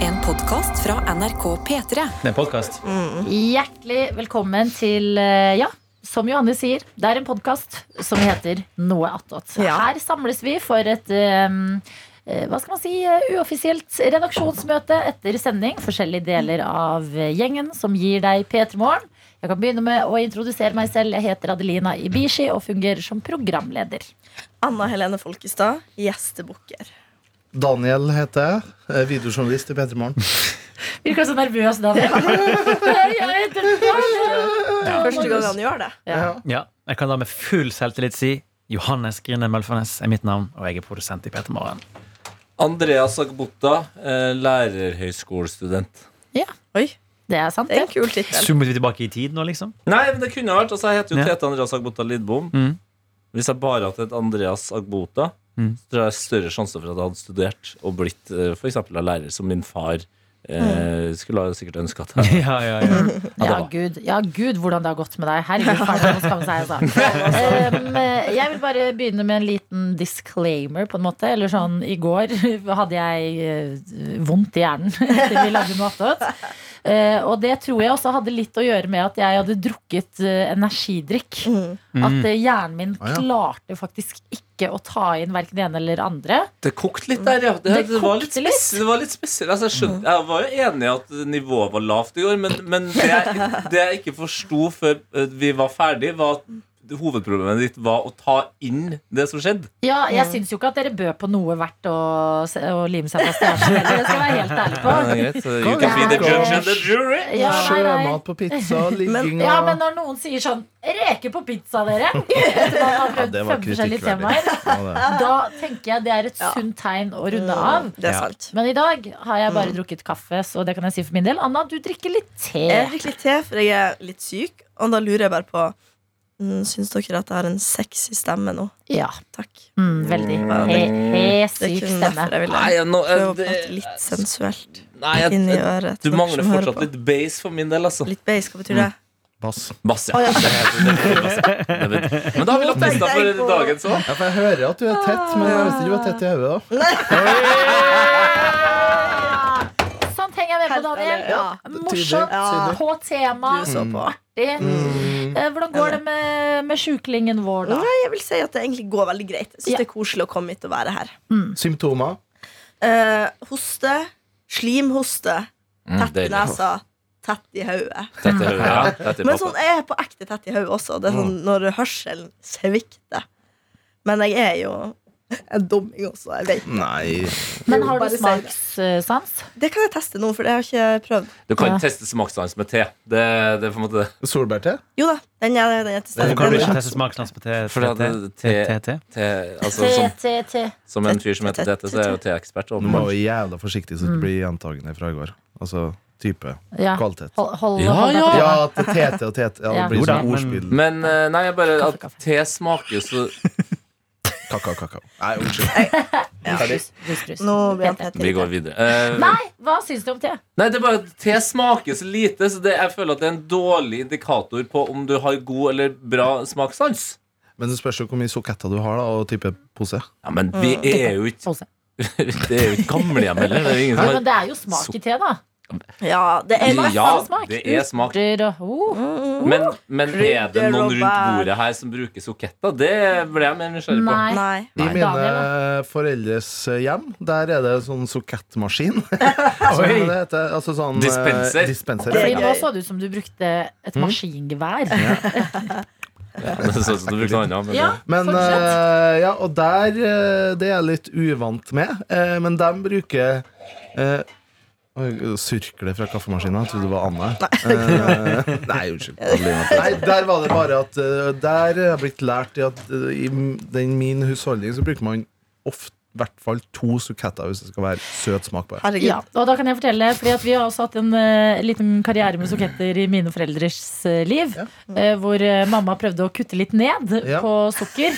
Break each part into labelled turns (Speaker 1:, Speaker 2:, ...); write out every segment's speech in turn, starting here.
Speaker 1: En podkast fra NRK P3.
Speaker 2: Det er podkast.
Speaker 3: Hjertelig velkommen til, eh, ja, som Johanne sier, det er en podkast som heter Noe attåt.
Speaker 4: Ja.
Speaker 3: Her samles vi for et eh, eh, hva skal man si, eh, uoffisielt redaksjonsmøte etter sending. Forskjellige deler av eh, gjengen som gir deg P3 Morgen. Jeg kan begynne med å introdusere meg selv. Jeg heter Adelina Ibishi og fungerer som programleder.
Speaker 4: Anna Helene Folkestad, gjestebukker.
Speaker 5: Daniel heter jeg. eh, Videojournalist i P3 Morgen.
Speaker 3: Virker så nervøs, Daniel. Jeg heter Daniel.
Speaker 4: Første gang han gjør det.
Speaker 3: Ja.
Speaker 2: Ja, jeg kan da med full selvtillit si Johannes Grine Mølfarnes er mitt navn, og jeg er produsent i P3 Morgen.
Speaker 6: Andreas Agbota, eh, lærerhøyskolestudent.
Speaker 4: Oi,
Speaker 3: Det er sant,
Speaker 4: det
Speaker 3: det.
Speaker 4: er en kul tittel.
Speaker 2: Zoomet vi tilbake i tid nå, liksom?
Speaker 6: Nei, men det kunne ha vært. Altså, jeg heter jo
Speaker 2: Ja.
Speaker 6: Tete Andreas Agbota Lidbom.
Speaker 2: Mm.
Speaker 6: Hvis jeg bare hadde hett Andreas Agbota,
Speaker 2: Mm.
Speaker 6: så tror jeg det er større sjanse for at jeg hadde studert og blitt eh, for eksempel av lærer, som min far eh, skulle ha sikkert ønske at jeg
Speaker 2: Ja, ja, ja.
Speaker 6: Ja, det
Speaker 3: Ja,
Speaker 6: var.
Speaker 3: gud, ja, gud hvordan det har gått med deg. Herregud, faen, det må skamme seg, altså. Um, jeg vil bare begynne med en liten disclaimer, på en måte. Eller sånn, i går hadde jeg eh, vondt i hjernen etter vi lagde noe attåt. Eh, og det tror jeg også hadde litt å gjøre med at jeg hadde drukket eh, energidrikk. At
Speaker 6: Mm.
Speaker 3: eh, hjernen min
Speaker 5: Å, ja.
Speaker 3: klarte faktisk ikke å ta inn hverken det ene eller det andre.
Speaker 6: Det kokte litt der, ja. Det,
Speaker 3: Det
Speaker 6: det var litt
Speaker 3: kokte litt.
Speaker 6: spesielt. Det var litt spesielt. Altså, jeg, skjønte, jeg var jo enig i at nivået var lavt i går, men, men det, jeg, det jeg ikke forsto før eh, vi var ferdig, var at hovedproblemet ditt var å ta inn det som skjedde.
Speaker 3: Ja, jeg syns jo ikke at dere bød på noe verdt å, se- å lime seg fast i hjernen heller. Det skal jeg være helt ærlig på.
Speaker 6: Ja, det er greit. You can be the judge and the jury.
Speaker 3: Ja, nei, nei.
Speaker 5: Sjømat på pizza, ligging
Speaker 3: Ja,
Speaker 5: og
Speaker 3: men når noen sier sånn Reker på pizza, dere! Etter man har prøvd
Speaker 5: Det var
Speaker 3: fem forskjellige
Speaker 5: kritikkverdig.
Speaker 3: temaer.
Speaker 5: Ja, det.
Speaker 3: Da tenker jeg det er et
Speaker 4: Ja. Mm.
Speaker 3: sunt tegn å runde av.
Speaker 4: Det er
Speaker 2: Ja.
Speaker 4: sant.
Speaker 3: Men i dag har jeg bare drukket kaffe, så det kan jeg si for min del. Anna, du drikker litt te.
Speaker 4: Jeg drikker litt te, for jeg er litt syk, og da lurer jeg bare på mm, Syns dere at jeg har en sexy stemme nå?
Speaker 3: Ja,
Speaker 4: Takk.
Speaker 3: mm, Veldig he, he
Speaker 4: Det er
Speaker 3: syk
Speaker 4: kun
Speaker 3: stemme.
Speaker 4: derfor jeg ville
Speaker 6: Nei, jeg, nå, eh,
Speaker 4: prøve å
Speaker 6: det,
Speaker 4: prate litt sensuelt
Speaker 6: nei jeg,
Speaker 4: inn i øret.
Speaker 6: du
Speaker 4: til dere
Speaker 6: mangler
Speaker 4: som hører
Speaker 6: fortsatt
Speaker 4: på.
Speaker 6: litt base for min del, altså.
Speaker 4: Litt beis, hva betyr det?
Speaker 5: bass.
Speaker 6: Bass, ja. Det er- det er- det er- det er- Men da har vi lagt lista for dagen, så.
Speaker 5: Ja, for jeg hører at du er tett, men jeg visste ikke du var tett i hodet. da.
Speaker 3: Sånt Sånn henger jeg med på,
Speaker 4: Helt
Speaker 3: Daniel.
Speaker 4: ærlig, ja.
Speaker 3: Morsomt,
Speaker 4: Tydelig.
Speaker 3: på
Speaker 6: Mm.
Speaker 3: tema,
Speaker 4: Du så på.
Speaker 3: artig. Eh, Hvordan går det med, med sjuklingen vår, da?
Speaker 4: Nei, jeg vil si at det egentlig går veldig greit. Jeg synes
Speaker 3: Ja.
Speaker 4: det er koselig å komme hit og være her.
Speaker 5: Symptomer.
Speaker 4: Eh, hoste, slimhoste, tett i
Speaker 6: Mm, deilig.
Speaker 4: nesa, tett i hodet.
Speaker 6: Dette er- ja, dette er
Speaker 4: Men
Speaker 6: pappa. Mm.
Speaker 4: sånn, jeg er på ekte tett i hodet også. Det er sånn når hørselen svikter. Men jeg er jo en dumming også. Jeg vet.
Speaker 5: Nei
Speaker 3: Men har
Speaker 4: Bare
Speaker 3: du
Speaker 4: si det.
Speaker 3: smakssans?
Speaker 4: Det kan jeg teste nå, for det har jeg ikke prøvd.
Speaker 6: Du kan
Speaker 3: Ja.
Speaker 6: teste smakssans med te. Det, det er på en måte
Speaker 5: Solbærte?
Speaker 4: Jo da, den er, den er til
Speaker 2: Hvorfor kan du ikke
Speaker 4: stede.
Speaker 2: teste smaksnans på
Speaker 6: For det hadde te-
Speaker 2: TT?
Speaker 6: te,
Speaker 5: Sånn
Speaker 6: altså,
Speaker 3: Te,
Speaker 6: som,
Speaker 3: te, te.
Speaker 6: som en fyr som heter Tete, så er jeg jo teekspert.
Speaker 5: Du må
Speaker 6: åpenbart.
Speaker 5: være jævla forsiktig så du ikke blir gjentagende fra i går. Altså type.
Speaker 3: Ja.
Speaker 5: Kvalitet.
Speaker 3: Hold, hold,
Speaker 6: Ja,
Speaker 3: hold deg
Speaker 6: ja.
Speaker 3: på det.
Speaker 5: Ja, til tete og tete. Ja,
Speaker 3: Ja.
Speaker 5: det blir
Speaker 2: Jo da,
Speaker 5: sånn
Speaker 2: men-
Speaker 5: ordspill.
Speaker 6: Men eh, nei, jeg bare
Speaker 3: Kaffe,
Speaker 6: at
Speaker 3: kaffe.
Speaker 6: te smaker jo så
Speaker 5: Kakao, kakao. Nei, unnskyld.
Speaker 3: Brus, brus, brus.
Speaker 4: Nå blir han
Speaker 3: Peter.
Speaker 4: tett i
Speaker 6: Vi går
Speaker 4: hodet.
Speaker 6: videre. Eh,
Speaker 3: Nei, hva syns du om te?
Speaker 6: Nei, det er bare at Te smaker så lite, så det, jeg føler at det er en dårlig indikator på om du har god eller bra smakssans.
Speaker 5: Men det spørs jo hvor mye soketter du har, da, og type pose.
Speaker 6: Ja, men vi
Speaker 3: Mm.
Speaker 6: er jo ikke
Speaker 3: Pose.
Speaker 6: Det er jo ikke gamlehjem heller. Det er ingen
Speaker 3: Ja, men
Speaker 6: som
Speaker 3: det er jo smak i te, da. Altså
Speaker 4: Ja, det er
Speaker 6: har
Speaker 4: masse
Speaker 6: Ja,
Speaker 3: smak.
Speaker 6: det er smak.
Speaker 3: Urter og oh.
Speaker 4: Mm.
Speaker 6: Men, men er det noen rundt
Speaker 4: Robert.
Speaker 6: bordet her som bruker soketter? Det ble jeg mer nysgjerrig på.
Speaker 3: Nei.
Speaker 4: Nei.
Speaker 5: I
Speaker 3: Nei.
Speaker 5: mine
Speaker 3: Daniel,
Speaker 5: foreldres hjem Der er det sånn sokettmaskin. Som
Speaker 2: Oi.
Speaker 5: det heter. Altså sånn eh,
Speaker 6: Dispenser.
Speaker 5: dispenser.
Speaker 3: Fordi
Speaker 4: er
Speaker 3: nå
Speaker 4: gøy.
Speaker 3: så det ut som du brukte
Speaker 6: Mm.
Speaker 3: et maskingevær.
Speaker 6: Det er sånn som du bruker noe annet, men-
Speaker 3: Ja,
Speaker 5: Men
Speaker 3: fortsett.
Speaker 5: eh, ja, og der eh, Det er jeg litt uvant med, eh, men de bruker eh, Oi, Surkle fra kaffemaskina. Jeg trodde det var Anne. Eh, nei, unnskyld. Nei, der var det bare at eh, Der er jeg blitt lært i at eh, i m- den min husholdning så bruker man ofte i hvert fall to suketter hvis det skal være søt smak på det.
Speaker 4: Herregud.
Speaker 3: Ja, og da kan jeg fortelle, fordi at Vi har også hatt en eh, liten karriere med soketter i mine foreldres eh, liv. eh, hvor eh, mamma prøvde å kutte litt ned
Speaker 5: Ja.
Speaker 3: på sukker.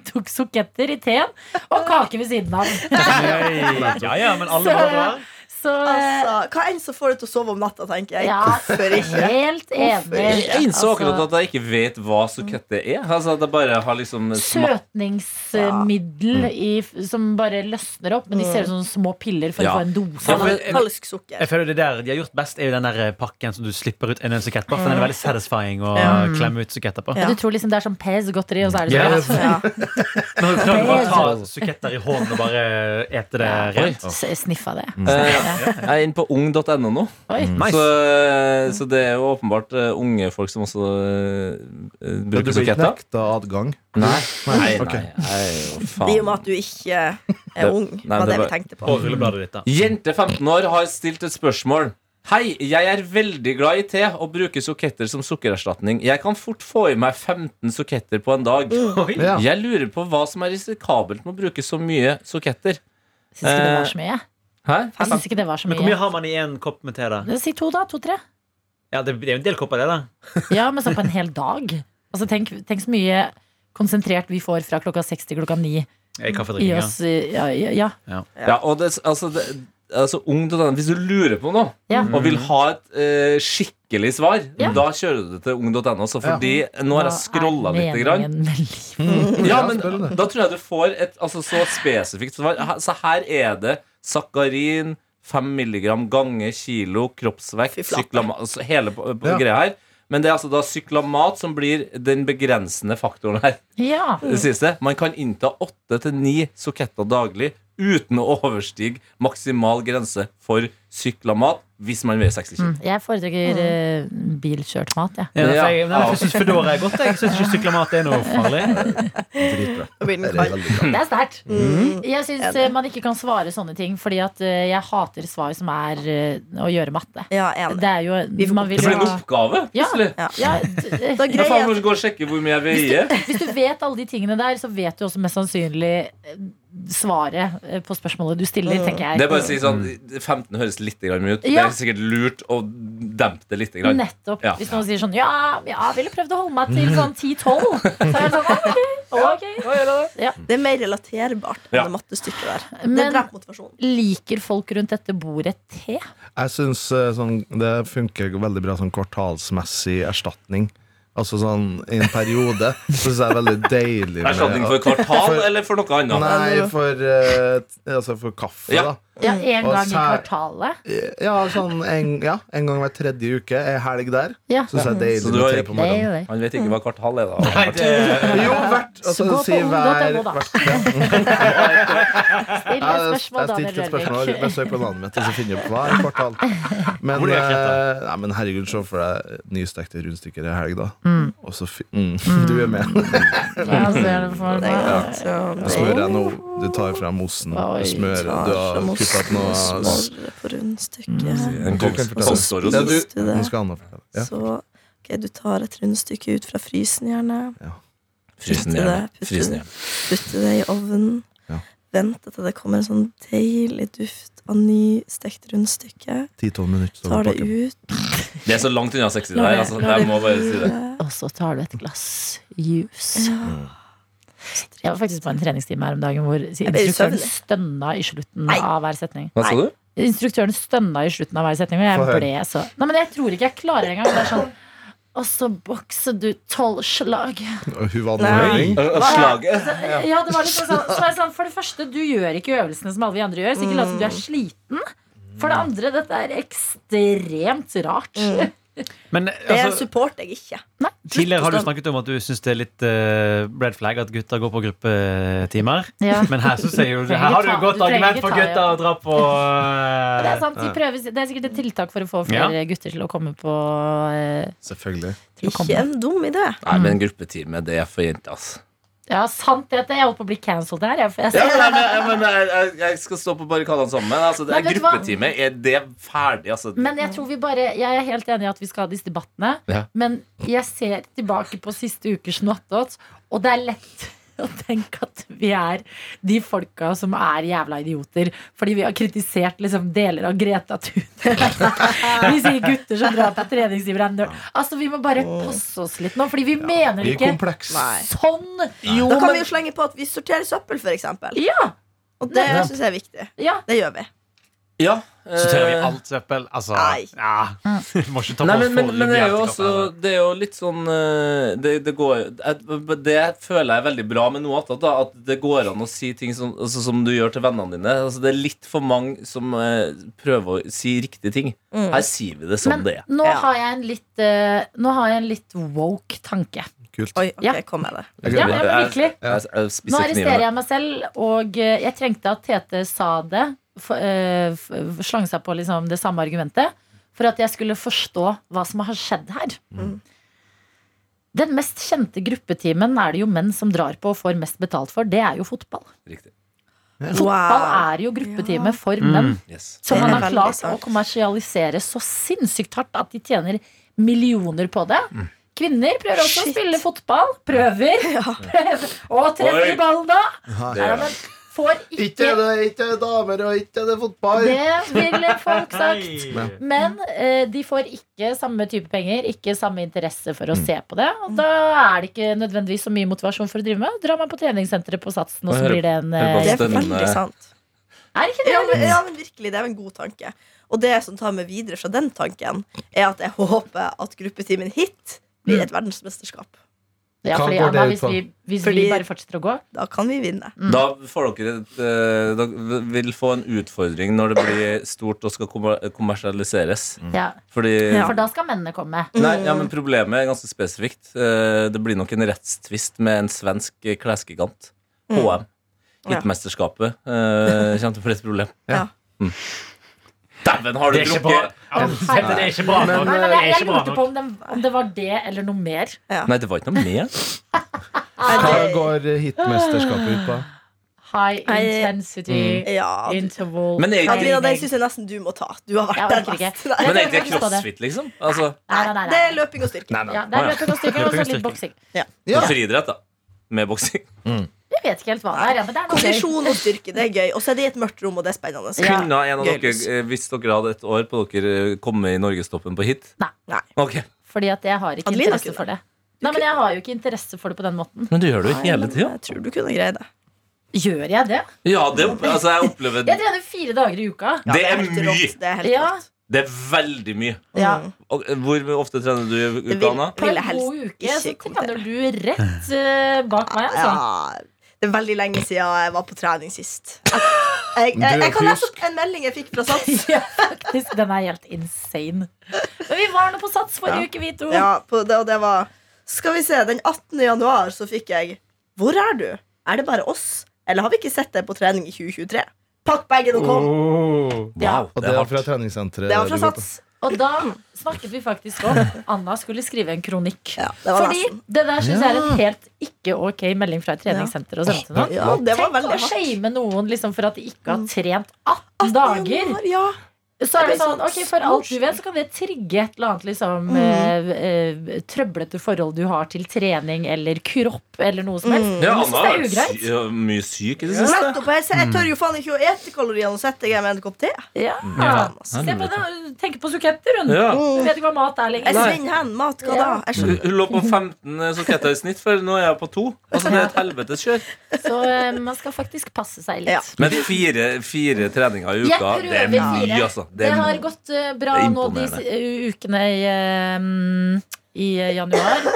Speaker 3: tok soketter i teen og kake ved siden av.
Speaker 2: Ja, ja, men alle må dra.
Speaker 3: Så, Så eh,
Speaker 4: Altså, hva enn som får deg til å sove om natta, tenker jeg.
Speaker 3: Ja.
Speaker 4: Hvorfor ikke?
Speaker 3: helt enig.
Speaker 6: Jeg innså akkurat
Speaker 3: Altså,
Speaker 6: at jeg ikke vet hva sukette er. Altså at jeg bare har liksom smakt
Speaker 3: Søtningsmiddel i, som bare løsner opp, men de ser ut som små piller for
Speaker 6: Ja.
Speaker 3: å få en dose.
Speaker 6: Ja,
Speaker 3: av det.
Speaker 6: men-
Speaker 4: Falsk sukker.
Speaker 2: Jeg føler det der De har gjort best, er jo den der eh, pakken som du slipper ut en øl sukett på. For den er veldig satisfying å
Speaker 4: Ja.
Speaker 2: klemme ut suketter på.
Speaker 4: Ja.
Speaker 3: Du tror liksom det er sånn Pez-godteri, og så er det
Speaker 2: Ja.
Speaker 3: sånn.
Speaker 4: Ja.
Speaker 2: Men har du prøvd å bare ta suketter i hånden og bare ete det rent?
Speaker 3: S- Sniffa det.
Speaker 6: Mm. Eh, Jeg er inne på ung.no nå.
Speaker 3: Oi.
Speaker 6: Så, eh,
Speaker 2: Nice.
Speaker 6: så det er jo åpenbart eh, unge folk som også eh,
Speaker 5: Du
Speaker 6: bruker
Speaker 5: blir ikke
Speaker 6: suketter.
Speaker 5: nekta adgang.
Speaker 6: Nei, nei, nei,
Speaker 5: Ok.
Speaker 6: nei, jo,
Speaker 4: Det er jo med
Speaker 6: faen.
Speaker 4: at du ikke er ung,
Speaker 6: Nei,
Speaker 4: var
Speaker 6: det
Speaker 4: det
Speaker 6: var-
Speaker 4: vi tenkte på.
Speaker 2: Og rullebladet ditt, da.
Speaker 6: Jente 15 år har stilt et spørsmål. Hei, jeg er veldig glad i te og bruker suketter som sukkererstatning. Jeg kan fort få i meg 15 suketter på en dag.
Speaker 5: Ja.
Speaker 6: Jeg lurer på hva som er risikabelt med å bruke så mye suketter.
Speaker 3: Syns ikke det var så mye.
Speaker 6: Hæ?
Speaker 3: Jeg syns ikke det var så
Speaker 2: Men hvor mye
Speaker 3: mye.
Speaker 2: har man i en kopp med te, da?
Speaker 3: Si to, da. To-tre.
Speaker 2: Ja, Det det er jo en del kopper, det, da.
Speaker 3: Ja, men sånn på en hel dag. Altså, tenk, tenk så mye konsentrert vi får fra klokka seks til klokka ni
Speaker 2: I
Speaker 3: i
Speaker 2: kaffedrikkinga.
Speaker 3: oss. eh, Ja, ja, ja.
Speaker 6: Ja, og det, altså, det, altså ung til denne, Hvis du lurer på noe
Speaker 3: Ja.
Speaker 6: og vil ha et eh, skikkelig svar,
Speaker 3: Ja.
Speaker 6: da kjører du det til ung.no. Så fordi Nå har jeg scrolla litt. Grann.
Speaker 3: grann.
Speaker 6: Ja,
Speaker 5: Ja,
Speaker 6: men
Speaker 5: spennende.
Speaker 6: da tror jeg du får et altså, så spesifikt svar. Her- Så her er det sakarin, 5 milligram ganger kilo, kroppsvekt,
Speaker 4: Fy flate.
Speaker 6: syklamat altså, Hele på, på
Speaker 5: Ja.
Speaker 6: greia her. Men det er altså da syklamat som blir den begrensende faktoren her.
Speaker 3: Ja.
Speaker 6: Det siste. Man kan innta åtte til ni suketter daglig uten å overstige maksimal grense for syklamat hvis man veier 60 kg.
Speaker 3: Mm, Jeg foretrekker eh, bilkjørt mat, jeg.
Speaker 2: Ja, for
Speaker 6: Ja.
Speaker 2: jeg nei, for jeg syns Foodora er godt. Jeg syns ikke syklamat er noe farlig.
Speaker 4: Da blir den
Speaker 5: Det er
Speaker 4: kald.
Speaker 5: veldig bra.
Speaker 3: Det er sterkt. Jeg syns eh, man ikke kan svare sånne ting, fordi at eh, jeg hater svar som er eh, å gjøre matte.
Speaker 4: Ja, enig.
Speaker 3: Det er jo
Speaker 4: får
Speaker 3: man
Speaker 6: Det
Speaker 3: vil
Speaker 6: blir en
Speaker 3: ha
Speaker 6: oppgave,
Speaker 3: Ja.
Speaker 6: plutselig.
Speaker 4: Ja.
Speaker 3: ja, d-
Speaker 4: Da
Speaker 6: Da faen
Speaker 4: greier jeg
Speaker 6: må du gå og sjekke hvor mye jeg veier.
Speaker 3: Hvis du vet alle de tingene der, så vet du også mest sannsynlig eh, svaret eh, på spørsmålet du stiller, tenker jeg.
Speaker 6: Det er bare å si sånn 15 høres litt grann mye ut. Det
Speaker 3: Ja.
Speaker 6: er sikkert lurt å dempe det litt. Grann.
Speaker 3: Nettopp.
Speaker 6: Ja. Mm.
Speaker 3: Hvis noen sier sånn Ja, ja jeg ville prøvd å holde meg til sånn 10-12. Så er jeg sånn, «Ah, ok, ok.
Speaker 4: Det er mer relaterbart enn
Speaker 6: Ja.
Speaker 4: det mattestykket der. Det
Speaker 3: Men-
Speaker 4: dreper motivasjonen.
Speaker 3: Liker folk rundt dette bordet te?
Speaker 5: Jeg syns sånn, det funker veldig bra sånn kvartalsmessig erstatning. Altså sånn i en periode. Så syns jeg det er veldig deilig med-
Speaker 6: Erstatning for kvartal eller for noe annet?
Speaker 5: Nei, for, eh, t- altså for kaffe,
Speaker 6: Ja.
Speaker 5: da.
Speaker 3: Ja, En
Speaker 5: Og
Speaker 3: gang i
Speaker 5: sær-
Speaker 3: kvartalet?
Speaker 5: Ja, sånn en, ja, en gang hver tredje uke. Ei helg der.
Speaker 3: Ja.
Speaker 5: Så syns jeg det er deilig
Speaker 6: Så du har
Speaker 5: med te på
Speaker 6: ikke-
Speaker 5: morgenen.
Speaker 3: Deilig.
Speaker 6: Han vet ikke hva kvartal er, da.
Speaker 2: Nei, det,
Speaker 5: Jo, hvert
Speaker 3: Så gå
Speaker 5: altså,
Speaker 3: på
Speaker 5: si hver,
Speaker 3: ung.no da.
Speaker 5: hvert ja.
Speaker 3: Stille
Speaker 5: Jeg, jeg
Speaker 3: spørsmål,
Speaker 5: stilte et
Speaker 3: Daniel
Speaker 5: spørsmål
Speaker 3: Rørvik.
Speaker 5: med søk på navnet mitt, og så finner jeg opp hva er et kvartal. Men,
Speaker 2: Hvor er jeg
Speaker 5: eh, nei, men herregud, se for deg nystekte rundstykker i helg, da. Og så fi- mm, Du er med.
Speaker 3: Ja, så er det for
Speaker 4: Det er
Speaker 3: meg.
Speaker 4: greit. Så-
Speaker 5: Du smører nå. Du tar fram osten.
Speaker 3: Oi,
Speaker 5: Du smører.
Speaker 4: Ja,
Speaker 5: Du har
Speaker 4: så må
Speaker 5: kuttet opp noe
Speaker 4: smøre på
Speaker 3: Mm.
Speaker 4: rundstykket.
Speaker 6: En
Speaker 5: Du kan
Speaker 6: kongs-
Speaker 5: fortelle.
Speaker 6: kongsår og
Speaker 5: Ja,
Speaker 6: sånn.
Speaker 5: du-
Speaker 4: Visste du det?
Speaker 5: Nå skal Anna fortelle. Ja.
Speaker 4: Så ok, du tar et rundstykke ut fra frysen, gjerne.
Speaker 6: Frysen i
Speaker 4: Putter
Speaker 6: hjel.
Speaker 4: det-
Speaker 6: Frysen i hjel.
Speaker 4: Putter det i ovnen.
Speaker 5: Ja.
Speaker 4: Vente til det kommer en sånn deilig duft av nystekt rundstykke.
Speaker 5: 10-12 minutter. så
Speaker 4: Tar det
Speaker 5: pakker.
Speaker 4: ut.
Speaker 6: Det er så langt unna 60
Speaker 3: Lar
Speaker 6: der.
Speaker 3: det-
Speaker 6: Altså,
Speaker 4: lar
Speaker 6: jeg må bare si det.
Speaker 4: hvile.
Speaker 3: Og så tar du et glass juice. Mm.
Speaker 4: Ja.
Speaker 3: Jeg var faktisk på en treningstime her om dagen hvor
Speaker 4: blir
Speaker 3: instruktøren
Speaker 4: søvnig.
Speaker 3: stønna i slutten
Speaker 4: Nei.
Speaker 3: av hver setning.
Speaker 6: Hva sa du?
Speaker 3: Instruktøren stønna i slutten av hver setning, og jeg
Speaker 5: Få høre.
Speaker 3: ble så Nei, men jeg tror ikke jeg klarer engang. Det er sånn Og så bokser du tolv slag.
Speaker 5: Og Hun var
Speaker 4: Nei.
Speaker 5: annullering.
Speaker 6: Slaget.
Speaker 3: Ja, det var litt sånn, så er det sånn, For det første, du gjør ikke øvelsene som alle vi andre gjør. Så ikke lat som du er sliten. For det andre, dette er ekstremt rart.
Speaker 2: men
Speaker 4: Det
Speaker 2: altså,
Speaker 4: supporter jeg ikke.
Speaker 2: tidligere har du snakket om at du syns det er litt eh, red flag at gutter går på gruppetimer.
Speaker 3: Ja.
Speaker 2: Men her synes jeg jo
Speaker 3: trenger
Speaker 2: Her har du
Speaker 3: ta-
Speaker 2: et godt
Speaker 3: du trenger
Speaker 2: argument
Speaker 3: ikke
Speaker 2: for
Speaker 3: ta, ja.
Speaker 2: gutter å dra på eh,
Speaker 3: Det er, sant, de prøver, det er sikkert et tiltak for å få flere gutter til å komme på eh,
Speaker 5: Selvfølgelig.
Speaker 3: til å
Speaker 4: Ikke
Speaker 3: komme.
Speaker 4: en dum idé.
Speaker 6: Nei,
Speaker 3: Mm.
Speaker 6: men gruppetime, det er for jenter, altså.
Speaker 3: Ja, sant det. at Jeg holdt på å bli cancelled her. Jeg, for jeg,
Speaker 6: Ja, men, nei, men, jeg, men jeg, jeg skal stå på barrikadene sammen. men Altså, det
Speaker 3: Nei,
Speaker 6: er
Speaker 3: vet du hva?
Speaker 6: gruppetime er det ferdig, altså.
Speaker 3: Men jeg tror vi bare Jeg er helt enig i at vi skal ha disse debattene.
Speaker 6: Ja.
Speaker 3: Men jeg ser tilbake på siste ukers Nottåt, og det er lett å tenke at vi er de folka som er jævla idioter. Fordi vi har kritisert liksom deler av Greta Thun. vi sier gutter som drar på treningsgiver er nerd. Altså, vi må bare passe oss litt nå, fordi vi mener det
Speaker 5: Vi er
Speaker 3: ikke
Speaker 5: kompleks.
Speaker 4: Nei.
Speaker 3: sånn. Jo,
Speaker 4: Da kan vi
Speaker 3: men-
Speaker 4: jo slenge på at vi sorterer søppel, for eksempel
Speaker 3: ja,
Speaker 4: Og det syns jeg er viktig.
Speaker 3: ja,
Speaker 4: Det gjør vi.
Speaker 6: Ja.
Speaker 2: Sorterer vi
Speaker 6: eh,
Speaker 2: alt søppel? Altså,
Speaker 4: Nei.
Speaker 2: ja. Du må ikke ta på
Speaker 6: Nei, men, men,
Speaker 2: foreløpig
Speaker 6: men det er jo
Speaker 2: alt i
Speaker 6: også
Speaker 2: kroppen.
Speaker 6: Det er jo litt sånn eh, Det, det, går, jeg- det føler jeg er veldig bra med noe annet. Da, at det går an å si ting som, altså, som du gjør til vennene dine. Altså, det er litt for mange som eh, prøver å si riktige ting.
Speaker 4: Mm.
Speaker 6: Her sier vi det som
Speaker 3: Men
Speaker 6: det er.
Speaker 3: nå,
Speaker 4: Ja.
Speaker 3: har jeg en litt, eh, nå har jeg en litt woke tanke.
Speaker 5: Kult.
Speaker 4: Oi, ok,
Speaker 3: Ja.
Speaker 4: kom med det.
Speaker 3: Ja, ja, men virkelig.
Speaker 6: Jeg, jeg, jeg
Speaker 3: Nå
Speaker 6: spiser
Speaker 3: arresterer
Speaker 6: kniven.
Speaker 3: jeg meg selv, og eh, jeg trengte at Tete sa det. For, eh, f- slang seg på liksom det samme argumentet. For at jeg skulle forstå hva som har skjedd her.
Speaker 4: Mm.
Speaker 3: Den mest kjente gruppetimen er det jo menn som drar på og får mest betalt for. Det er jo fotball.
Speaker 6: Riktig.
Speaker 3: Fotball
Speaker 4: Wow.
Speaker 3: er jo
Speaker 4: Ja.
Speaker 3: gruppetime for
Speaker 2: Mm.
Speaker 3: menn.
Speaker 6: Yes.
Speaker 3: Som
Speaker 4: Det
Speaker 3: man
Speaker 4: er
Speaker 3: har
Speaker 4: veldig
Speaker 3: klart å
Speaker 4: sant.
Speaker 3: kommersialisere så sinnssykt hardt at de tjener millioner på det.
Speaker 5: Mm.
Speaker 3: Kvinner prøver også å
Speaker 4: Shit.
Speaker 3: spille fotball. Prøver. prøver. Og treffer
Speaker 6: Oi.
Speaker 3: ballen, da!
Speaker 6: Det
Speaker 3: Ja,
Speaker 6: gjør
Speaker 3: men får
Speaker 5: Ikke
Speaker 3: ikke
Speaker 5: det, ikke damer, og ikke det fotball.
Speaker 3: Det ville folk sagt.
Speaker 2: Nei.
Speaker 3: Men eh, de får ikke samme type penger, ikke samme interesse for å
Speaker 5: Mm.
Speaker 3: se på det. Og da er det ikke nødvendigvis så mye motivasjon for å drive med. Drar man på treningssenteret på Satsen, og
Speaker 6: Jeg
Speaker 3: så
Speaker 6: hører-
Speaker 3: blir det en
Speaker 6: hører på
Speaker 4: Det
Speaker 3: eh,
Speaker 4: er
Speaker 6: Spennende.
Speaker 4: veldig sant.
Speaker 3: Er ikke det?
Speaker 4: Ja men, ja, men virkelig, det er jo en god tanke. Og det som tar meg videre fra den tanken, er at jeg håper at gruppetimen hit
Speaker 3: Mm.
Speaker 4: blir et verdensmesterskap.
Speaker 3: Ja,
Speaker 5: Hva
Speaker 3: fordi,
Speaker 5: går det
Speaker 3: Anna,
Speaker 5: ut
Speaker 3: hvis
Speaker 5: på?
Speaker 3: vi, hvis vi
Speaker 4: Fordi-
Speaker 3: bare fortsetter å gå
Speaker 4: Da kan vi vinne.
Speaker 6: Da får dere et, eh, Dere vil få en utfordring når det blir stort og skal kommer- kommersialiseres.
Speaker 2: Mm.
Speaker 3: ja.
Speaker 6: Fordi
Speaker 3: For da skal mennene komme.
Speaker 6: Nei, ja, men Problemet er ganske spesifikt. Eh, Det blir nok en rettstvist med en svensk eh, klesgigant. HM.
Speaker 4: Ja.
Speaker 6: Hitmesterskapet eh, kommer til å bli et problem.
Speaker 4: Ja.
Speaker 6: Mm. Dæven, har du
Speaker 2: Det er ikke bra.
Speaker 6: drukket?
Speaker 2: Ja, Tete, det er ikke bra
Speaker 5: Men,
Speaker 2: nok.
Speaker 3: Nei, men
Speaker 2: Det
Speaker 3: jeg,
Speaker 2: er
Speaker 3: jeg
Speaker 2: ikke bra
Speaker 3: lurte på
Speaker 2: nok.
Speaker 3: om det, om det var det eller noe mer.
Speaker 6: Nei, det var ikke noe mer.
Speaker 5: Hva
Speaker 4: Nei, det-
Speaker 5: går hitmesterskapet ut på?
Speaker 3: High
Speaker 4: Nei,
Speaker 3: intensity
Speaker 4: Ja, du-
Speaker 3: interval
Speaker 6: Men er ikke-
Speaker 4: Adelina, den
Speaker 3: training.
Speaker 4: syns jeg nesten du må ta. Du har
Speaker 3: Jeg
Speaker 4: vært der
Speaker 3: orker ikke.
Speaker 4: mest. Nei.
Speaker 6: Men er
Speaker 3: jeg
Speaker 6: ikke det
Speaker 3: kan forstå det.
Speaker 6: crossfit, liksom? Altså,
Speaker 3: Nei, nei, nei,
Speaker 4: Det
Speaker 3: nei.
Speaker 4: er løping og styrke.
Speaker 3: Ja, det er
Speaker 6: Å, ja.
Speaker 3: løping og styrke og
Speaker 2: Løping og
Speaker 3: så litt
Speaker 2: styrke.
Speaker 3: boksing.
Speaker 5: Ja.
Speaker 6: friidrett, da. Med boksing.
Speaker 3: Jeg vet ikke helt hva det er. Ja, men det er noe gøy.
Speaker 4: Kondisjon og styrke, det er gøy. Og så er det i et mørkt rom, og det er spennende.
Speaker 3: Ja.
Speaker 6: Kunne en av
Speaker 4: Gøy
Speaker 6: dere,
Speaker 4: lys.
Speaker 6: eh, hvis dere hadde et år på dere, eh, komme i norgestoppen på hit?
Speaker 3: Nei.
Speaker 4: Nei.
Speaker 6: Ok,
Speaker 3: Fordi at jeg har ikke
Speaker 4: Adelina
Speaker 3: interesse
Speaker 4: kunne.
Speaker 3: for det. Nei, men jeg har jo ikke interesse for det på den måten.
Speaker 6: Men du gjør det jo
Speaker 4: Nei,
Speaker 6: hele
Speaker 4: men
Speaker 6: tida.
Speaker 4: Jeg tror du kunne greie det.
Speaker 3: Gjør jeg det?
Speaker 6: Ja, det, opp- altså, jeg opplever
Speaker 3: Jeg trener fire dager i uka.
Speaker 4: Ja,
Speaker 6: Det er
Speaker 4: helt
Speaker 6: mye.
Speaker 4: rått, Det er helt
Speaker 3: Ja.
Speaker 4: rått.
Speaker 6: Det er veldig mye.
Speaker 3: Ja.
Speaker 4: Mm.
Speaker 6: Og, eh, hvor ofte trener du i
Speaker 4: Det
Speaker 6: uka,
Speaker 4: vil-
Speaker 6: Anna?
Speaker 3: På en
Speaker 4: Ville helst
Speaker 3: god uke så
Speaker 4: ikke
Speaker 3: trener du rett eh, bak meg, altså.
Speaker 4: Ja, det er veldig lenge siden jeg var på trening sist. Jeg, jeg,
Speaker 5: Du
Speaker 4: jeg,
Speaker 5: er
Speaker 4: jeg kan lese
Speaker 5: frisk.
Speaker 4: opp en melding jeg fikk fra Sats.
Speaker 3: Ja, faktisk. Den er helt insane. Men vi var nå på Sats forrige
Speaker 4: Ja.
Speaker 3: uke, vi to.
Speaker 4: Ja, på, det, og det var Skal vi se, den 18. januar så fikk jeg Hvor er du? Er det bare oss? Eller har vi ikke sett deg på trening i 2023? Pakk bagen og kom!
Speaker 3: Ja.
Speaker 5: Og det er fra treningssenteret.
Speaker 4: Det var fra
Speaker 5: du går på.
Speaker 4: Sats.
Speaker 3: Og da snakket vi faktisk om Anna skulle skrive en kronikk.
Speaker 4: Ja, det var
Speaker 3: Fordi
Speaker 4: nesten.
Speaker 3: det der syns jeg er en helt ikke ok melding fra et treningssenter. å sende til noen.
Speaker 4: Ja, det var
Speaker 3: Tenk å
Speaker 4: veldig hardt. Mm.
Speaker 3: shame noen liksom, for at de ikke har trent 18 dager.
Speaker 4: Januar, Ja.
Speaker 3: Så er det
Speaker 4: Det er
Speaker 3: sånn,
Speaker 4: sånn
Speaker 3: ok, For alt du
Speaker 4: smart.
Speaker 3: vet, så kan det trigge et eller annet liksom,
Speaker 4: Mm.
Speaker 3: eh, eh, trøblete forhold du har til trening eller kropp eller noe som helst.
Speaker 6: Ja,
Speaker 3: Jeg synes
Speaker 6: Anna
Speaker 3: det
Speaker 6: har
Speaker 3: er
Speaker 6: vært
Speaker 3: ugreit.
Speaker 6: sy ja, mye syk i det siste.
Speaker 4: Mm. Nettopp, og jeg, jeg tør jo faen ikke å ete kaloriene og sette jeg med en kopp te. altså.
Speaker 3: Ja.
Speaker 6: Ja.
Speaker 3: Se på det, hun tenker på suketter, hun.
Speaker 6: Ja.
Speaker 3: Hun vet ikke hva mat er
Speaker 4: Jeg
Speaker 3: lenger.
Speaker 6: Nei.
Speaker 4: svinner hen. Mat, hva da? Jeg
Speaker 6: Hun
Speaker 4: skjønner.
Speaker 6: hun lå på 15 soketter i snitt før. Nå er jeg på to. Altså, det er et helvetes kjør.
Speaker 3: Så eh, man skal faktisk passe seg litt.
Speaker 4: Ja.
Speaker 6: Men fire, fire treninger i
Speaker 3: Jeg
Speaker 6: uka,
Speaker 3: prøver
Speaker 6: det er mye,
Speaker 3: fire.
Speaker 6: altså.
Speaker 3: Det
Speaker 6: er
Speaker 3: har
Speaker 6: mye.
Speaker 3: gått eh, bra
Speaker 6: det er
Speaker 3: nå de
Speaker 6: imponerende.
Speaker 3: si- u- ukene i, eh, mm, i eh, januar.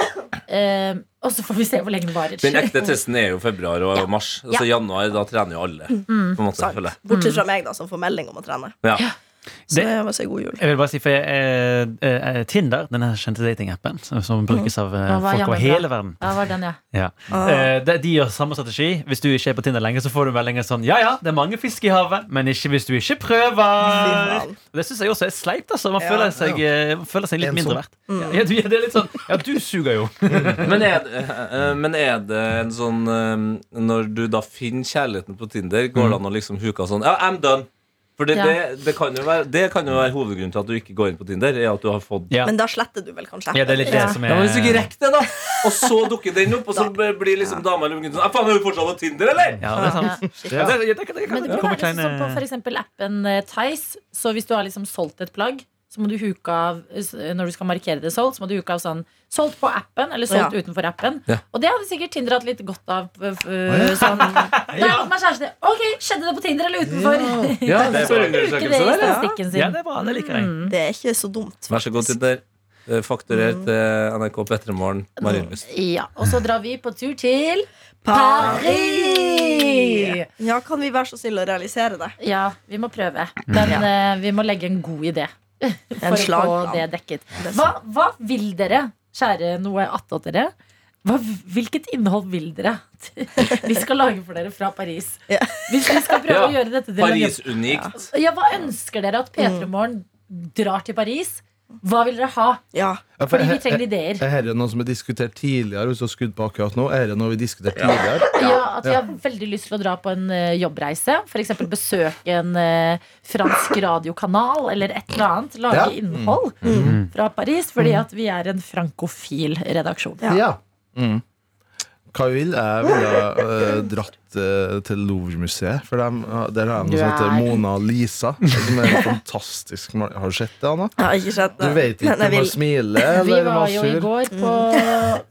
Speaker 3: Eh, og så får vi se hvor lenge det varer.
Speaker 6: Den ekte testen er jo februar og mars. Altså januar, da trener jo alle.
Speaker 3: Mm.
Speaker 6: På en måte,
Speaker 4: Sant.
Speaker 6: føler jeg.
Speaker 4: Bortsett fra meg, da, som får melding om å trene.
Speaker 6: Ja.
Speaker 2: Mm.
Speaker 4: Så
Speaker 2: Det-
Speaker 4: det var så god jul.
Speaker 2: Jeg vil bare si, for jeg, eh, eh, Tinder, den her kjente datingappen som- som brukes av eh,
Speaker 3: Ja, hva
Speaker 2: folk
Speaker 3: jammen
Speaker 2: over
Speaker 3: bra.
Speaker 2: hele verden
Speaker 3: Ja, var den, ja.
Speaker 2: ja. Eh, de, de gjør samme strategi. Hvis du ikke er på Tinder lenger, så får du en melding sånn Ja, ja, det er mange fisk i havet, men ikke hvis du ikke prøver.
Speaker 4: faen.
Speaker 2: Det syns jeg også er sleipt. Altså. Man,
Speaker 4: Ja.
Speaker 2: føler seg, eh, man føler seg litt
Speaker 5: Ensom.
Speaker 2: mindre verdt. Ja, du, det er litt sånn Ja, du suger jo.
Speaker 6: Men er, det- eh, men er det en sånn eh, Når du da finner kjærligheten på Tinder, går det an å liksom huke av sånn Ja, I'm done. For det,
Speaker 3: Ja.
Speaker 6: det, det, kan jo være, det kan jo være hovedgrunnen til at du ikke går inn på Tinder. Er at du har fått
Speaker 2: Ja.
Speaker 4: Men da sletter du vel kanskje?
Speaker 2: ja, det er litt det
Speaker 3: Ja.
Speaker 2: som
Speaker 6: ja,
Speaker 2: er
Speaker 6: men Hvis du ikke rekker det, da, og så dukker den opp, og så blir liksom dama eller gutten sånn «Ah, Faen, er du fortsatt på Tinder, eller?
Speaker 2: Ja, det er sant. Ja.
Speaker 3: Altså,
Speaker 2: Det, det, det, det, det,
Speaker 3: Men det
Speaker 2: det
Speaker 3: burde
Speaker 2: kommer
Speaker 3: være sånn som på
Speaker 2: kleine
Speaker 3: f.eks. appen eh, Tice. Så hvis du har liksom solgt et plagg, så må du huke av eh, Når du skal markere det solgt, så må du huke av sånn solgt på appen eller solgt
Speaker 4: Ja.
Speaker 3: utenfor appen.
Speaker 6: Ja.
Speaker 3: Og det hadde sikkert Tinder hatt litt godt av. eh, f-
Speaker 5: ja.
Speaker 3: sånn, da har jeg fått meg kjæreste. Ok, skjedde det på Tinder eller utenfor?
Speaker 6: Ja, det er
Speaker 3: Så
Speaker 6: bra
Speaker 3: bruke det i
Speaker 6: undersøkelse der, ja.
Speaker 3: statistikken sin.
Speaker 2: Ja, det er bra. Det liker jeg.
Speaker 4: Det er ikke så dumt.
Speaker 6: Vær så god, Tinder. Eh, Fakturer
Speaker 3: Mm.
Speaker 6: til NRK Petremorgen, Marienlyst.
Speaker 3: Ja, Og så drar vi på tur til
Speaker 4: Paris! Ja, kan vi være så snille å realisere det?
Speaker 3: Ja, vi må prøve. Men eh, vi må legge en god idé for å få
Speaker 4: slagplan.
Speaker 3: det dekket. Hva, hva vil dere, kjære noe attåt dere? Hva, hvilket innhold vil dere at vi skal lage for dere fra Paris?
Speaker 4: Ja.
Speaker 3: Hvis vi skal prøve
Speaker 6: Ja,
Speaker 3: å gjøre dette til
Speaker 6: Paris unikt.
Speaker 3: Ja, Hva ønsker dere at P3 Morgen drar til Paris? Hva vil dere ha?
Speaker 4: Ja.
Speaker 5: Ja, for
Speaker 3: Fordi vi
Speaker 5: he-
Speaker 3: trenger ideer.
Speaker 5: Er dette noe som er diskutert tidligere? Hvis du har skudd på akkurat nå Er det noe vi diskuterte tidligere?
Speaker 3: Ja, at vi har veldig lyst til å dra på en eh, jobbreise. F.eks. besøke en eh, fransk radiokanal eller et eller annet. Lage
Speaker 5: Ja. Mm.
Speaker 3: innhold fra Paris, fordi at vi er en frankofil redaksjon.
Speaker 4: Ja.
Speaker 5: Ja. Mm. Hva jeg vil jeg? ville eh, dratt eh, til Louvre-museet. For dem, eh, Der har de noe
Speaker 3: Du
Speaker 5: som heter
Speaker 3: er-
Speaker 5: Mona Lisa. Som er en fantastisk mal- Har du sett det, Anna?
Speaker 4: Jeg har ikke sett
Speaker 5: Du
Speaker 4: det.
Speaker 5: vet ikke
Speaker 4: Men jeg
Speaker 5: om hun
Speaker 4: vil.
Speaker 5: smiler
Speaker 3: Vi
Speaker 5: eller
Speaker 3: var
Speaker 5: var
Speaker 3: jo i
Speaker 5: sur.
Speaker 3: går på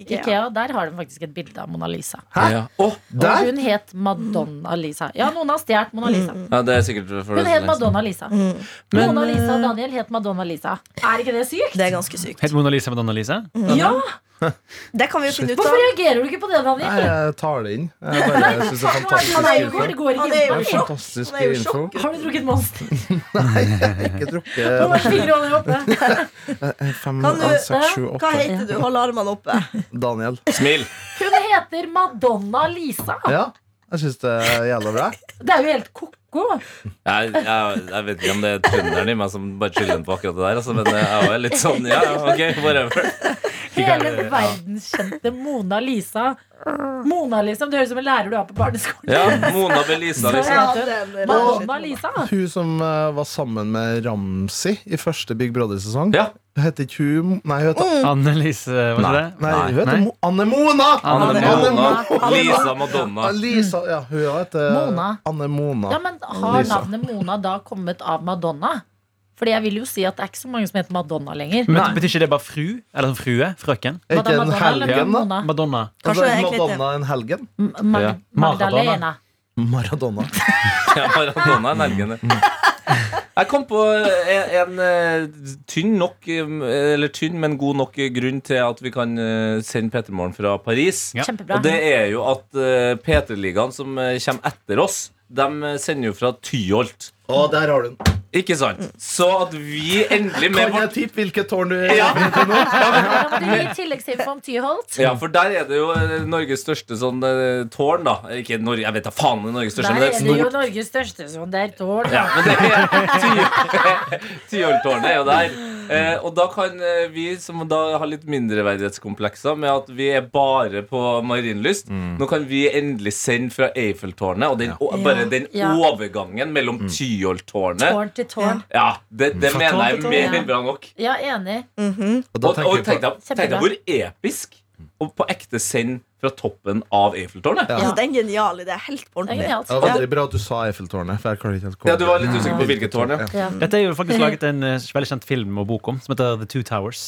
Speaker 4: Ikea.
Speaker 3: Ikea. Der har de faktisk et bilde av Mona Lisa.
Speaker 6: Ja. Å,
Speaker 3: Og
Speaker 5: Der!
Speaker 3: hun het Madonna Lisa. Ja, noen har stjålet Mona Lisa.
Speaker 6: ja, det er sikkert for
Speaker 3: Hun
Speaker 6: det
Speaker 3: het
Speaker 6: som lengst.
Speaker 3: Madonna Lisa. Mona Lisa Daniel het Madonna Lisa. Er ikke det sykt?
Speaker 4: Det er ganske sykt.
Speaker 2: Het Mona Lisa Madonna Lisa?
Speaker 3: Ja!
Speaker 4: Det kan vi jo finne ut
Speaker 3: Hvorfor
Speaker 4: av.
Speaker 3: reagerer du ikke på det,
Speaker 5: Nei,
Speaker 3: Daniel?
Speaker 5: jeg tar det inn. Jeg bare syns
Speaker 3: Han er
Speaker 5: det er
Speaker 3: jo
Speaker 5: fantastisk
Speaker 3: god, det
Speaker 5: info.
Speaker 3: går
Speaker 4: Han
Speaker 3: ikke
Speaker 4: er jo
Speaker 5: Det
Speaker 3: inn
Speaker 5: er
Speaker 3: på.
Speaker 5: fantastisk
Speaker 4: Han er jo i
Speaker 5: info.
Speaker 4: sjokk.
Speaker 3: Har du drukket Monster?
Speaker 5: Nei, jeg har ikke
Speaker 3: Hvor
Speaker 5: drukket
Speaker 3: var fire år oppe?
Speaker 5: Eh, fem,
Speaker 4: Kan du-
Speaker 5: seks, sju,
Speaker 4: Hva
Speaker 5: åtte.
Speaker 4: heter du? Hold armene oppe.
Speaker 5: Daniel.
Speaker 6: Smil!
Speaker 3: Hun heter Madonna Lisa.
Speaker 5: Ja, jeg syns det er jævla bra.
Speaker 3: Det er jo helt ko-ko.
Speaker 6: Jeg, jeg, jeg vet ikke om det er trønderen i meg som bare chiller på akkurat det der, altså, men jeg er jo litt sånn Ja, ja, ok, whatever.
Speaker 3: Hele
Speaker 6: Ja.
Speaker 3: verdenskjente Mona Lisa. Mona Lisa, Det høres ut som en lærer du har på barneskolen.
Speaker 6: Ja, Mona Belisa, liksom.
Speaker 3: Ja,
Speaker 4: Ja,
Speaker 3: du-
Speaker 4: den
Speaker 5: eh,
Speaker 4: er
Speaker 3: Madonna
Speaker 4: rett og slett.
Speaker 3: Lisa.
Speaker 5: Hun som eh, var sammen med Ramsi i første Big Brother-sesong.
Speaker 6: Ja. Mm.
Speaker 5: Heter ikke hun Nei, hun heter,
Speaker 2: Annelise, var det det?
Speaker 5: nei, hun heter
Speaker 2: Nei.
Speaker 5: Mo Anne Mona!
Speaker 2: Anne
Speaker 6: Mona,
Speaker 5: Mona.
Speaker 6: Lisa Madonna.
Speaker 5: Lisa, ja, hun heter
Speaker 3: Mona.
Speaker 5: Anne Mona.
Speaker 3: Ja, men Har
Speaker 5: Lisa.
Speaker 3: navnet Mona da kommet av Madonna? Fordi jeg vil jo si at det er ikke så mange som heter Madonna lenger.
Speaker 2: Men betyr ikke det bare fru? Eller sånn frue? Frøken?
Speaker 5: Er ikke
Speaker 3: Madonna
Speaker 5: en
Speaker 3: eller
Speaker 5: helgen, da?
Speaker 3: Madonna?
Speaker 2: Madonna.
Speaker 4: Kanskje
Speaker 5: Altså,
Speaker 4: det er egentlig
Speaker 5: Madonna en helgen?
Speaker 3: M- Mag
Speaker 6: Ja.
Speaker 3: Magdalena.
Speaker 5: Maradona.
Speaker 6: Ja, Maradona er nergende.
Speaker 5: Mm.
Speaker 6: Jeg kom på en, en eh, tynn nok eh, Eller tynn, men god nok grunn til at vi kan eh, sende P3morgen fra Paris.
Speaker 2: Ja.
Speaker 3: Kjempebra.
Speaker 6: Og det er jo at eh, P3-ligaen som eh, kommer etter oss, de sender jo fra Tyholt.
Speaker 5: Å, der har du den.
Speaker 6: Ikke sant?
Speaker 3: Mm.
Speaker 6: Så at vi endelig
Speaker 5: Kan
Speaker 6: med vårt
Speaker 5: jeg tippe hvilket tårn du
Speaker 6: Ja.
Speaker 3: Da må du gi tilleggsinfo om Tyholt.
Speaker 6: Ja, for der er det jo eh, Norges største sånn eh, tårn, da. Ikke Norge, jeg vet da faen om det er Norges største,
Speaker 3: Der er
Speaker 6: men det er et
Speaker 3: det jo
Speaker 6: stort
Speaker 3: Norges største sånn der tårn.
Speaker 6: ja, men det er Ty- Tyholttårnet er jo der. Eh, og da kan eh, vi som da har litt mindreverdighetskomplekser med at vi er bare på Marienlyst, nå kan vi endelig sende fra Eiffeltårnet. Og den, og, bare den
Speaker 3: Ja.
Speaker 6: overgangen mellom Tyholttårnet
Speaker 3: Tårn til tårn.
Speaker 6: Ja, det, det
Speaker 2: Fra
Speaker 6: mener
Speaker 2: tårn
Speaker 6: jeg
Speaker 2: til
Speaker 6: er
Speaker 2: tårn,
Speaker 6: mer
Speaker 3: ja.
Speaker 6: enn bra nok.
Speaker 3: Ja, enig.
Speaker 5: Og da
Speaker 6: Og, og
Speaker 5: tenker
Speaker 6: tenk
Speaker 5: jeg på
Speaker 6: deg tenk deg hvor episk og på ekte send fra toppen av Eiffeltårnet.
Speaker 5: Ja.
Speaker 4: Altså, det er en genial idé. Helt på
Speaker 3: Det er
Speaker 4: ordentlig.
Speaker 3: genialt.
Speaker 5: det var veldig bra at du sa Eiffeltårnet. For jeg klarer ikke helt å komme
Speaker 6: Ja, du var litt usikker på hvilket tårn, ja.
Speaker 3: Ja.
Speaker 2: Dette er jo faktisk laget en eh, veldig kjent film og bok om, som heter The Two Towers.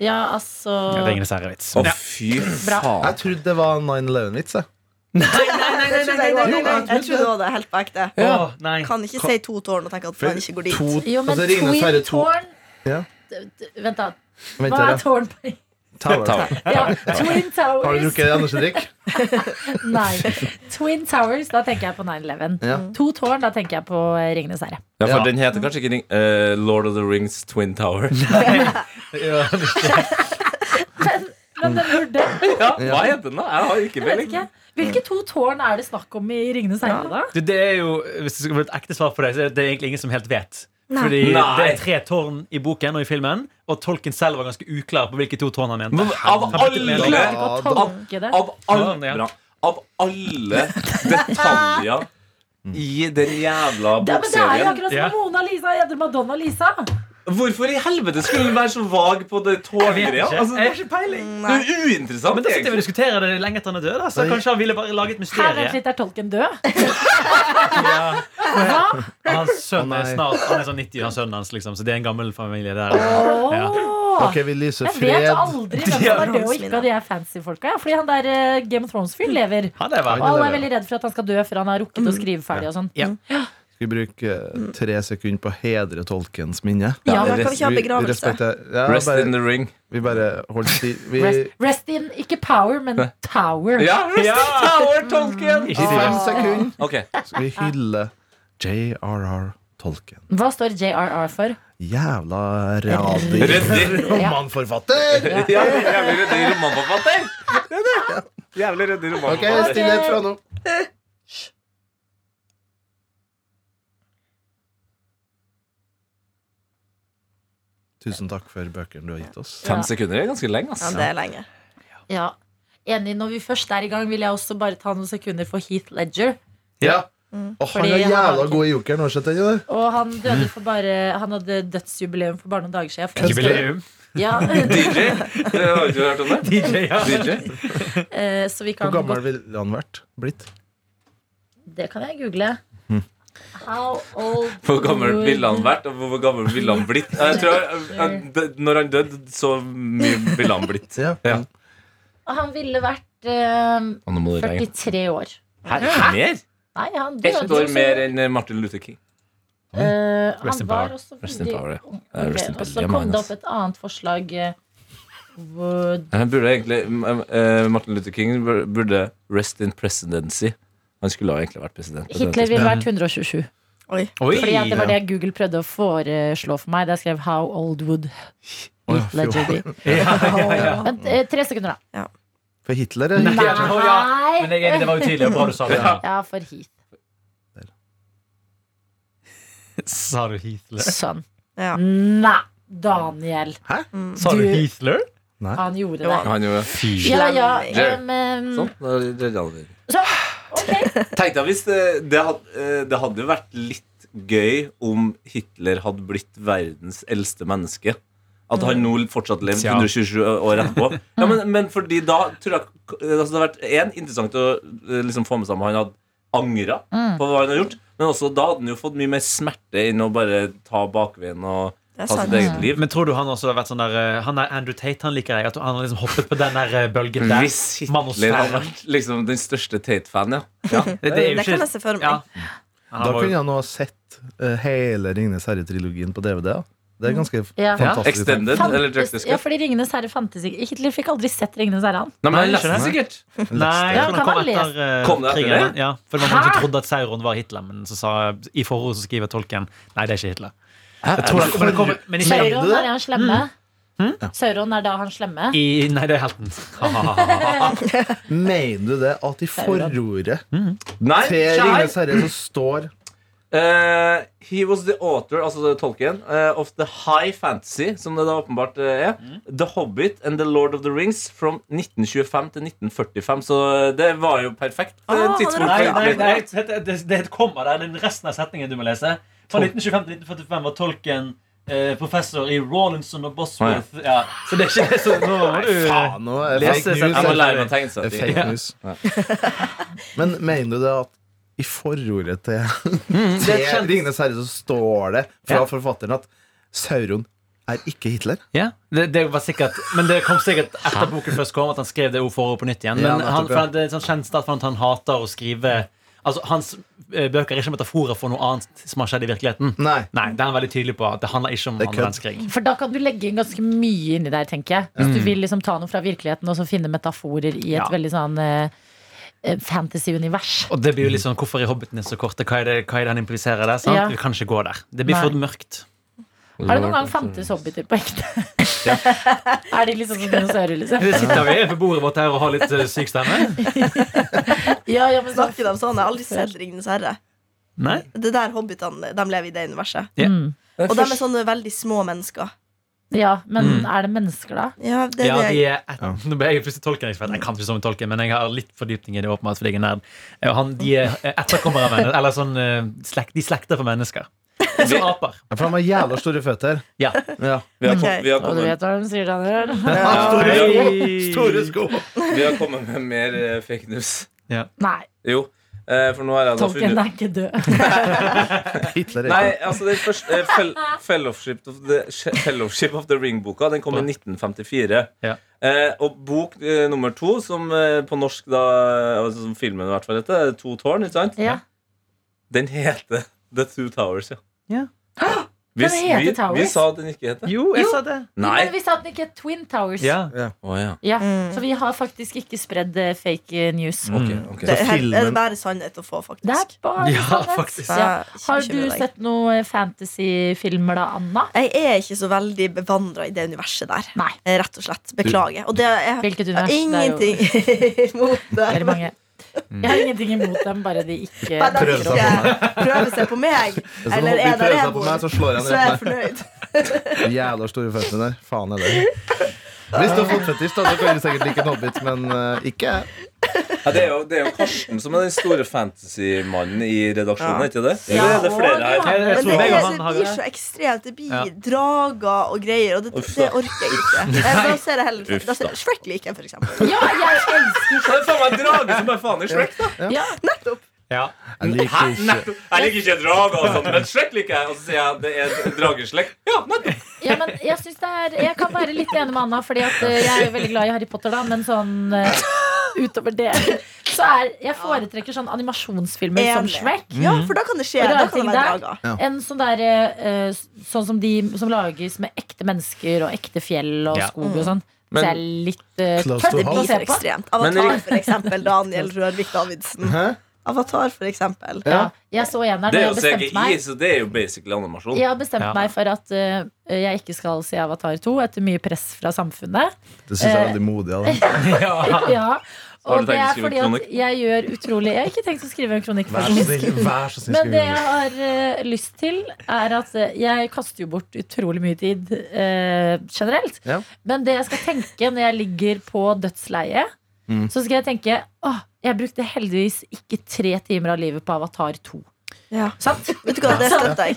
Speaker 3: Ja, altså
Speaker 2: Ringenes herre-vits.
Speaker 6: Å, fy faen.
Speaker 5: Jeg trodde det var 9-11-vits. jeg.
Speaker 4: Jeg trodde jeg var
Speaker 5: nei, nei,
Speaker 4: det.
Speaker 5: nei.
Speaker 4: Jeg trodde det var det. Helt på ekte.
Speaker 2: Å, nei.
Speaker 4: Kan ikke si to tårn og tenke at man ikke går dit.
Speaker 5: To,
Speaker 3: Jo, men
Speaker 5: altså, Ringenes
Speaker 3: Twin
Speaker 5: herre to
Speaker 3: Tårn
Speaker 5: Ja.
Speaker 3: D- d- Vent, da. Hva
Speaker 5: Vent, her,
Speaker 3: er
Speaker 5: ja.
Speaker 3: tårn på
Speaker 5: Tower.
Speaker 3: ja, Twin
Speaker 5: Har du
Speaker 3: Towers.
Speaker 5: drukket energidrikk?
Speaker 3: Nei. Twin Towers, da tenker jeg på 9-11.
Speaker 5: Ja.
Speaker 3: To tårn, da tenker jeg på eh, Ringenes herre.
Speaker 6: Ja, for
Speaker 5: Ja.
Speaker 6: den heter kanskje ikke Ring- eh, Lord of the Rings Twin Tower.
Speaker 5: Ja. Mm.
Speaker 3: Men den burde
Speaker 6: Ja, hva heter den, da? Jeg har ikke
Speaker 3: Vet
Speaker 6: peiling.
Speaker 3: ikke. Hvilke to tårn er det snakk om i Ringenes herre, da?
Speaker 2: Du, det er jo, hvis det skal være et ekte svar på det, så er det egentlig ingen som helt vet. Fordi
Speaker 6: Nei.
Speaker 2: det er tre tårn i boken og i filmen, og Tolkien selv var ganske uklar på hvilke to tårn han mente.
Speaker 6: Men av
Speaker 5: Ja,
Speaker 3: Jeg
Speaker 6: alle
Speaker 3: klarte ikke å
Speaker 5: da-
Speaker 3: tolke det.
Speaker 6: Av
Speaker 2: Sånn, ja.
Speaker 6: alle, av alle detaljer
Speaker 2: Mm.
Speaker 6: i den jævla
Speaker 3: Ja, men det er jo
Speaker 6: bokserien
Speaker 3: akkurat som
Speaker 2: Ja.
Speaker 3: Mona Lisa heter Madonna Lisa.
Speaker 6: Hvorfor i helvete skulle den være så vag på det
Speaker 2: Jeg
Speaker 6: tålegreia?
Speaker 2: vet ikke. Jeg
Speaker 6: Altså,
Speaker 2: har ikke peiling.
Speaker 6: det er jo uinteressant.
Speaker 2: Men da sitter vi og
Speaker 6: egentlig.
Speaker 2: diskuterer det lenge etter han er død. Da. Så
Speaker 5: Nei.
Speaker 2: kanskje han ville bare lage et
Speaker 3: Her
Speaker 2: mysterium.
Speaker 3: er er tolken død.
Speaker 2: Ja.
Speaker 3: Hva?
Speaker 2: Hans sønn
Speaker 5: Å,
Speaker 2: er
Speaker 5: nei.
Speaker 2: snart Han er sånn 90 av sønnen hans, liksom. Så det er en gammel familie der.
Speaker 3: Åh.
Speaker 2: Ja.
Speaker 5: Ok, vi lyser
Speaker 3: Jeg
Speaker 5: fred.
Speaker 3: vet aldri hvem som er død og ikke av de her fancy folka. ja, Fordi han der eh, Game of
Speaker 5: Mm.
Speaker 3: Thrones-fyren lever.
Speaker 2: Han er
Speaker 3: Og
Speaker 2: vel.
Speaker 3: alle er veldig redd for at han skal dø før han har rukket å skrive ferdig og sånn.
Speaker 2: Ja.
Speaker 5: Skal vi bruke eh, tre sekunder på å hedre tolkens minne?
Speaker 4: Ja, da kan vi ikke ha
Speaker 5: Vi- vi
Speaker 4: begravelse.
Speaker 5: respekter- Ja,
Speaker 6: Rest in
Speaker 5: bare,
Speaker 6: the ring.
Speaker 5: vi bare holder sti... Vi,
Speaker 3: Rest, rest in ikke power, men tower.
Speaker 6: Ja, rest
Speaker 2: Ja.
Speaker 6: in tower, Tolkien!
Speaker 2: Ikke si
Speaker 5: fem
Speaker 2: det.
Speaker 5: sekunder
Speaker 6: Ok,
Speaker 5: skal vi hylle J.R.R. Tolkien.
Speaker 3: Hva står JRR for?
Speaker 5: Jævla radig
Speaker 6: Ryddig.
Speaker 5: romanforfatter!
Speaker 6: Ja, Jævlig ryddig romanforfatter! Det er det. Jævlig ryddig
Speaker 5: Ok,
Speaker 6: romanforfatter.
Speaker 5: stillhet fra nå. Tusen takk for bøkene du har gitt oss.
Speaker 6: Fem sekunder er ganske lenge,
Speaker 4: Ja,
Speaker 6: ass.
Speaker 4: det er lenge.
Speaker 3: Ja. Enig, når vi først er i gang, vil jeg også bare ta noen sekunder for Heath Ledger.
Speaker 5: Ja. Å, han
Speaker 3: Mm. Fordi
Speaker 5: er
Speaker 3: han har
Speaker 5: jævla
Speaker 3: ikke-
Speaker 5: god i jokeren. Har du sett den? eller?
Speaker 3: Og han døde for bare Han hadde dødsjubileum for bare noen dager siden. For-
Speaker 2: Jubileum.
Speaker 3: Ja.
Speaker 6: DJ? Det har du ikke hørt om det?
Speaker 2: DJ, ja.
Speaker 6: DJ?
Speaker 3: Eh, Så vi kan
Speaker 5: Hvor
Speaker 3: godt
Speaker 5: gammel ville han vært? Blitt?
Speaker 3: Det kan jeg google. How old
Speaker 6: Hmm. Hvor gammel
Speaker 3: would-
Speaker 6: ville han vært, og hvor gammel ville han blitt? Jeg tror, jeg- jeg- når han døde, så mye ville han blitt.
Speaker 5: Ja.
Speaker 6: Ja.
Speaker 3: Han ville vært eh,
Speaker 6: Og nå må du regne.
Speaker 3: 43 år.
Speaker 6: Mer?
Speaker 3: Nei, han døde
Speaker 6: Ett år
Speaker 3: også.
Speaker 6: mer enn Martin Luther King.
Speaker 3: Eh,
Speaker 2: Rest
Speaker 3: han
Speaker 2: in
Speaker 3: var
Speaker 2: power.
Speaker 3: også
Speaker 6: Rest in
Speaker 3: veldig
Speaker 6: power, ja.
Speaker 3: ung.
Speaker 6: Ja, rest
Speaker 3: Ok,
Speaker 6: in
Speaker 3: Og så
Speaker 6: power,
Speaker 3: kom det
Speaker 6: Magnus.
Speaker 3: opp et annet forslag. eh, Would
Speaker 6: Han burde egentlig eh, Martin Luther King burde rest in presidency. Han skulle ha egentlig vært president. på det
Speaker 3: Hitler ville
Speaker 5: Ja.
Speaker 3: vært 127.
Speaker 4: Oi.
Speaker 2: Oi.
Speaker 3: Fordi at det var
Speaker 2: ja.
Speaker 3: det Google prøvde å foreslå for meg. Der skrev 'How old would
Speaker 5: Å, ja,
Speaker 3: Heath Ledger
Speaker 5: fy-
Speaker 3: be?'
Speaker 2: ja, ja.
Speaker 3: Vent, eh, tre sekunder, da.
Speaker 5: For Hitler, eller?
Speaker 2: Nei. Å, ja. Men jeg er enig, det var utydelig og bra du sa det.
Speaker 3: Ja, for Heath.
Speaker 2: Sa du Heathler?
Speaker 3: Sånn.
Speaker 4: Ja.
Speaker 3: Nei, Daniel.
Speaker 2: Sa du
Speaker 3: Du-
Speaker 2: Heathler?
Speaker 3: Han gjorde
Speaker 4: Jo,
Speaker 3: det.
Speaker 6: Han gjorde
Speaker 2: Fy.
Speaker 3: Ja, ja.
Speaker 6: Jerry.
Speaker 3: em,
Speaker 4: Mm.
Speaker 3: em,
Speaker 6: Sånn. da redder han det.
Speaker 3: Så, ok.
Speaker 6: Tenk deg hvis det, det, hadde, eh, det hadde jo vært litt gøy om Hitler hadde blitt verdens eldste menneske. At han nå fortsatt levde
Speaker 2: Tja.
Speaker 6: 127 år etterpå. Ja, men, men fordi da tror jeg eh, altså Det hadde vært en, interessant å eh, liksom få med seg om han hadde angra
Speaker 4: Mm.
Speaker 6: på hva han hadde gjort. Men også da hadde han jo fått mye mer smerte enn å bare ta bakveien og
Speaker 4: Det er
Speaker 5: Altså,
Speaker 6: ta
Speaker 4: sant.
Speaker 6: sitt eget liv.
Speaker 2: Men tror du han også har vært sånn der eh, Han er Andrew Tate, han liker jeg. At han har liksom hoppet på den der eh, bølgen der.
Speaker 6: Hvis Hitler hadde
Speaker 2: Manosfæren.
Speaker 6: vært liksom den største Tate-fan, ja.
Speaker 2: Det, det er jo
Speaker 4: Det kan
Speaker 2: ikke
Speaker 4: jeg se for meg.
Speaker 2: ja.
Speaker 5: Da
Speaker 2: Han var
Speaker 5: kunne
Speaker 2: jo
Speaker 5: jeg nå ha sett eh, hele Ringnes herre-trilogien på DVD. Da. Det er ganske
Speaker 3: Mm. Ja.
Speaker 5: fantastisk.
Speaker 6: Extended eller Jack
Speaker 3: Fantes,
Speaker 6: the
Speaker 3: ja,
Speaker 6: Scout.
Speaker 3: fordi 'Ringenes herre' fantes ikke. Hitler fikk aldri sett 'Ringenes herre', han.
Speaker 6: Nei, men jeg
Speaker 2: Nei,
Speaker 6: leste
Speaker 2: skjønner.
Speaker 6: den sikkert.
Speaker 2: Nei,
Speaker 3: Ja,
Speaker 2: jeg tror den
Speaker 3: kan
Speaker 2: kom
Speaker 3: man lese?
Speaker 2: etter, eh,
Speaker 6: Kom det etter
Speaker 2: krigen.
Speaker 6: det?
Speaker 2: Ja, for det var noen
Speaker 3: Hæ?
Speaker 2: som trodde at Sauron var Hitler, men så sa i forordet så skriver tolken Nei, det er ikke Hitler. Jeg tror det, men det kommer, men ikke
Speaker 5: Skjønner du
Speaker 3: Sauron
Speaker 5: det?
Speaker 3: er han slemme. Mm. Sauron er da han slemme.
Speaker 2: i, Nei, det er helten. Ha-ha-ha.
Speaker 5: Mener du det at i forordet
Speaker 6: Nei,
Speaker 5: til
Speaker 6: skjær!
Speaker 5: Ringnes herre så står
Speaker 6: Eh, he was the author, altså det er Tolkien, eh, of the high fantasy, som det da åpenbart eh, er. The Hobbit and the Lord of the Rings from 1925 til 1945. Så det var jo perfekt. eh,
Speaker 4: Ah, han
Speaker 6: tidspunkt
Speaker 4: rakk
Speaker 2: Nei,
Speaker 6: for
Speaker 4: det.
Speaker 2: nei,
Speaker 6: Hitler.
Speaker 2: nei, det heter- det det er et komma der. Den resten av setningen du må lese. Fra 1925 til 1945 var tolken eh, professor i Rawlinson og Bosworth. Ja. Så det er ikke det som Nå må du
Speaker 5: Faen, nå er det
Speaker 2: Lese
Speaker 5: fake news.
Speaker 6: Jeg må lære
Speaker 5: eller?
Speaker 6: meg å tegne
Speaker 5: Det er
Speaker 6: seg
Speaker 5: fake news. Men mener du det at i forordet til,
Speaker 2: det er
Speaker 5: til
Speaker 2: kjent.
Speaker 5: Ringnes herre så står det fra
Speaker 2: Ja.
Speaker 5: forfatteren at Sauron er ikke Hitler?
Speaker 2: Ja, det, det var sikkert Men det kom sikkert etter boken først kom, at han skrev det ord for ord på nytt igjen.
Speaker 5: Ja,
Speaker 2: Men
Speaker 5: nettopp,
Speaker 2: han,
Speaker 5: ja.
Speaker 2: for det er sånn kjent at han hater å skrive Altså, Hans eh, bøker er ikke metaforer for noe annet som har skjedd i virkeligheten.
Speaker 5: Nei.
Speaker 2: Nei, det er han veldig tydelig på. at Det handler ikke om
Speaker 5: Det er
Speaker 2: andre
Speaker 5: kødd.
Speaker 2: verdenskrig.
Speaker 3: For da kan du legge inn ganske mye inni der, tenker jeg. Hvis du vil liksom ta noe fra virkeligheten og så finne metaforer i et
Speaker 2: Ja.
Speaker 3: veldig sånn eh, eh, fantasy-univers.
Speaker 2: Og det blir jo litt sånn, Hvorfor er Hobbiten så korte? Hva er det, hva er det han impliserer der? sant?
Speaker 3: Ja.
Speaker 2: Vi kan ikke gå der. Det blir for mørkt.
Speaker 3: Har det noen gang fantes hobbiter på ekte? er de liksom som dinosaurer, liksom?
Speaker 2: Det sitter vi ved bordet vårt her og har litt eh, syk stemme.
Speaker 3: Ja, ja, men så,
Speaker 4: Snakker de sånn? Jeg har aldri sett Ringenes herre.
Speaker 2: Nei?
Speaker 4: Det der hobbitene de lever i det universet.
Speaker 2: Ja.
Speaker 3: Mm.
Speaker 4: Og de er sånne veldig små mennesker.
Speaker 3: ja, men
Speaker 2: Mm.
Speaker 3: er det mennesker, da?
Speaker 4: Ja, det
Speaker 2: Ja,
Speaker 4: er det.
Speaker 2: de
Speaker 4: jeg-
Speaker 2: er et, Nå ble jeg plutselig tolkenekspert. Jeg kan ikke så mye om tolken, men jeg har litt fordypning i det. åpenbart fordi jeg er nerd Og han, De er etterkommere av mennesker. Eller sånn, eh, slekt, de slekter for mennesker. Som aper.
Speaker 5: For de har jævla store føtter.
Speaker 2: Ja.
Speaker 5: Ja.
Speaker 6: Vi har,
Speaker 4: Ok.
Speaker 6: kom, vi har,
Speaker 3: Og du
Speaker 6: kommet,
Speaker 3: vet hva de sier, Daniel?
Speaker 5: Store sko!
Speaker 2: Hei.
Speaker 5: Store sko!
Speaker 6: vi har kommet med mer eh, fake news.
Speaker 3: Nei,
Speaker 6: Jo, eh, for nå har jeg da
Speaker 3: Tolkien
Speaker 6: funnet
Speaker 3: er ikke død.
Speaker 5: Hitler er
Speaker 6: Nei, altså den første eh, fel, fellowship, of the, fellowship of the Ring-boka Den kom i 1954
Speaker 2: Ja.
Speaker 6: eh, Og bok eh, nummer to Som eh, på norsk da altså, Som filmen i hvert fall heter eh, To tårn, ikke sant?
Speaker 3: Ja.
Speaker 6: Den heter The Two Towers, ja.
Speaker 2: Ja.
Speaker 6: Vi,
Speaker 3: Den heter
Speaker 6: vi, vi
Speaker 3: Towers?
Speaker 6: sa at den ikke heter
Speaker 2: Jo, jeg
Speaker 3: Jo.
Speaker 2: sa det.
Speaker 6: Nei.
Speaker 3: Men vi sa at den ikke er Twin Towers.
Speaker 2: Ja.
Speaker 6: Å, ja.
Speaker 3: Ja,
Speaker 4: Mm.
Speaker 3: Så vi har faktisk ikke spredd eh, fake eh, news.
Speaker 6: Ok,
Speaker 2: Mm.
Speaker 6: ok.
Speaker 4: Det er, her er
Speaker 5: filmen-
Speaker 4: det bare sannhet å få, faktisk.
Speaker 3: Det er bare
Speaker 2: Ja,
Speaker 3: sannhet.
Speaker 2: faktisk.
Speaker 4: Så
Speaker 3: Ja.
Speaker 4: jeg
Speaker 3: Har du
Speaker 4: bekymrer deg.
Speaker 3: sett noen fantasyfilmer da, Anna?
Speaker 4: Jeg er ikke så veldig bevandra i det universet der.
Speaker 3: Nei.
Speaker 4: Eh, Rett og slett. Beklager. Og det er jeg
Speaker 3: Hvilket univers?
Speaker 4: har ingenting
Speaker 3: Det
Speaker 4: imot det.
Speaker 3: er jo veldig mange. Jeg har ingenting imot dem, bare de ikke
Speaker 4: Bare de
Speaker 5: Prøve seg på
Speaker 4: ikke prøver seg på meg,
Speaker 5: Hvis
Speaker 4: Eller
Speaker 5: noen
Speaker 4: er det
Speaker 5: prøver seg
Speaker 4: rebo?
Speaker 5: på meg, så slår jeg
Speaker 4: så
Speaker 5: den
Speaker 4: er jeg
Speaker 5: rett
Speaker 4: fornøyd.
Speaker 5: ned. Jævla store føtter der. Faen er det. Hvis du har fått fetisj, da, så kan du sikkert like en hobbit, men eh, ikke jeg.
Speaker 6: Ja, det, er jo, det er jo Karsten som er den store fantasy-mannen i redaksjonen,
Speaker 4: Ja.
Speaker 6: ikke det?
Speaker 3: Ja,
Speaker 6: Eller er
Speaker 3: og
Speaker 6: det
Speaker 3: du
Speaker 6: flere her?
Speaker 3: har-
Speaker 2: Jeg, jeg
Speaker 4: Men det,
Speaker 2: tror meg og
Speaker 4: er,
Speaker 2: han
Speaker 4: det
Speaker 2: har
Speaker 4: blir
Speaker 2: det.
Speaker 4: så ekstremt. Det blir
Speaker 2: Ja.
Speaker 4: drager og greier, og det,
Speaker 6: Uff da.
Speaker 4: det orker jeg ikke. Eh, Da ser jeg heller
Speaker 6: Uff
Speaker 4: da ser
Speaker 6: da.
Speaker 4: jeg Shrek liker jeg, for eksempel.
Speaker 3: Ja, jeg elsker
Speaker 6: Det er faen meg en drage som er faen i Shrek, da!
Speaker 3: ja.
Speaker 2: Ja.
Speaker 5: Jeg
Speaker 6: Hæ?
Speaker 5: liker ikke
Speaker 6: Nettopp. Jeg liker ikke drager, og sånn, men Shrek liker jeg. Og så sier jeg at det er en drageslekt. Ja, nettopp.
Speaker 3: ja, men jeg synes det er Jeg kan være litt enig med Anna, Fordi at eh, jeg er jo veldig glad i Harry Potter, da, men sånn eh, utover det Så er Jeg foretrekker sånn animasjonsfilmer som
Speaker 4: Enig.
Speaker 3: Shrek.
Speaker 4: Ja, for da kan det skje.
Speaker 3: Og det er
Speaker 4: Da kan
Speaker 3: ting
Speaker 4: det være
Speaker 3: der.
Speaker 4: drager.
Speaker 5: Ja.
Speaker 3: En sånn der eh, eh, Sånn som de som lages med ekte mennesker og ekte fjell og
Speaker 2: Ja.
Speaker 3: skog og sånn.
Speaker 5: Men-
Speaker 3: Så jeg er litt eh,
Speaker 5: Close
Speaker 3: tørt
Speaker 5: to
Speaker 4: Det
Speaker 5: Hva
Speaker 3: å
Speaker 4: blir
Speaker 3: se
Speaker 4: for
Speaker 3: på.
Speaker 4: ekstremt.
Speaker 6: Men-
Speaker 4: Avatar, for eksempel. Daniel Rørvik Davidsen.
Speaker 5: Hæ?
Speaker 4: Avatar, for eksempel.
Speaker 3: Ja, jeg så en her da
Speaker 6: Det
Speaker 3: jeg
Speaker 6: er jo
Speaker 3: bestemte meg.
Speaker 6: CGI, så det er jo basically animasjon.
Speaker 3: Jeg har bestemt
Speaker 2: Ja.
Speaker 3: meg for at eh, jeg ikke skal se Avatar 2 etter mye press fra samfunnet.
Speaker 5: Det syns jeg er veldig modig av deg.
Speaker 2: Ja.
Speaker 3: Ja.
Speaker 6: har du
Speaker 3: Og det
Speaker 6: tenkt å
Speaker 3: er
Speaker 6: skrive
Speaker 3: fordi
Speaker 6: en
Speaker 3: at
Speaker 6: kronikk?
Speaker 3: jeg gjør utrolig Jeg har ikke tenkt å skrive en kronikk,
Speaker 5: Vær så
Speaker 3: faktisk.
Speaker 5: snill. Vær så snill.
Speaker 3: Men
Speaker 5: skriv
Speaker 3: det
Speaker 5: under.
Speaker 3: jeg har eh, lyst til, er at eh, jeg kaster jo bort utrolig mye tid eh, generelt.
Speaker 5: Ja.
Speaker 3: Men det jeg skal tenke når jeg ligger på dødsleiet,
Speaker 5: Mm.
Speaker 3: så skal jeg tenke åh, jeg brukte heldigvis ikke tre timer av livet på Avatar 2.
Speaker 4: Ja.
Speaker 3: Sant?
Speaker 4: Vet du hva, det støtter jeg.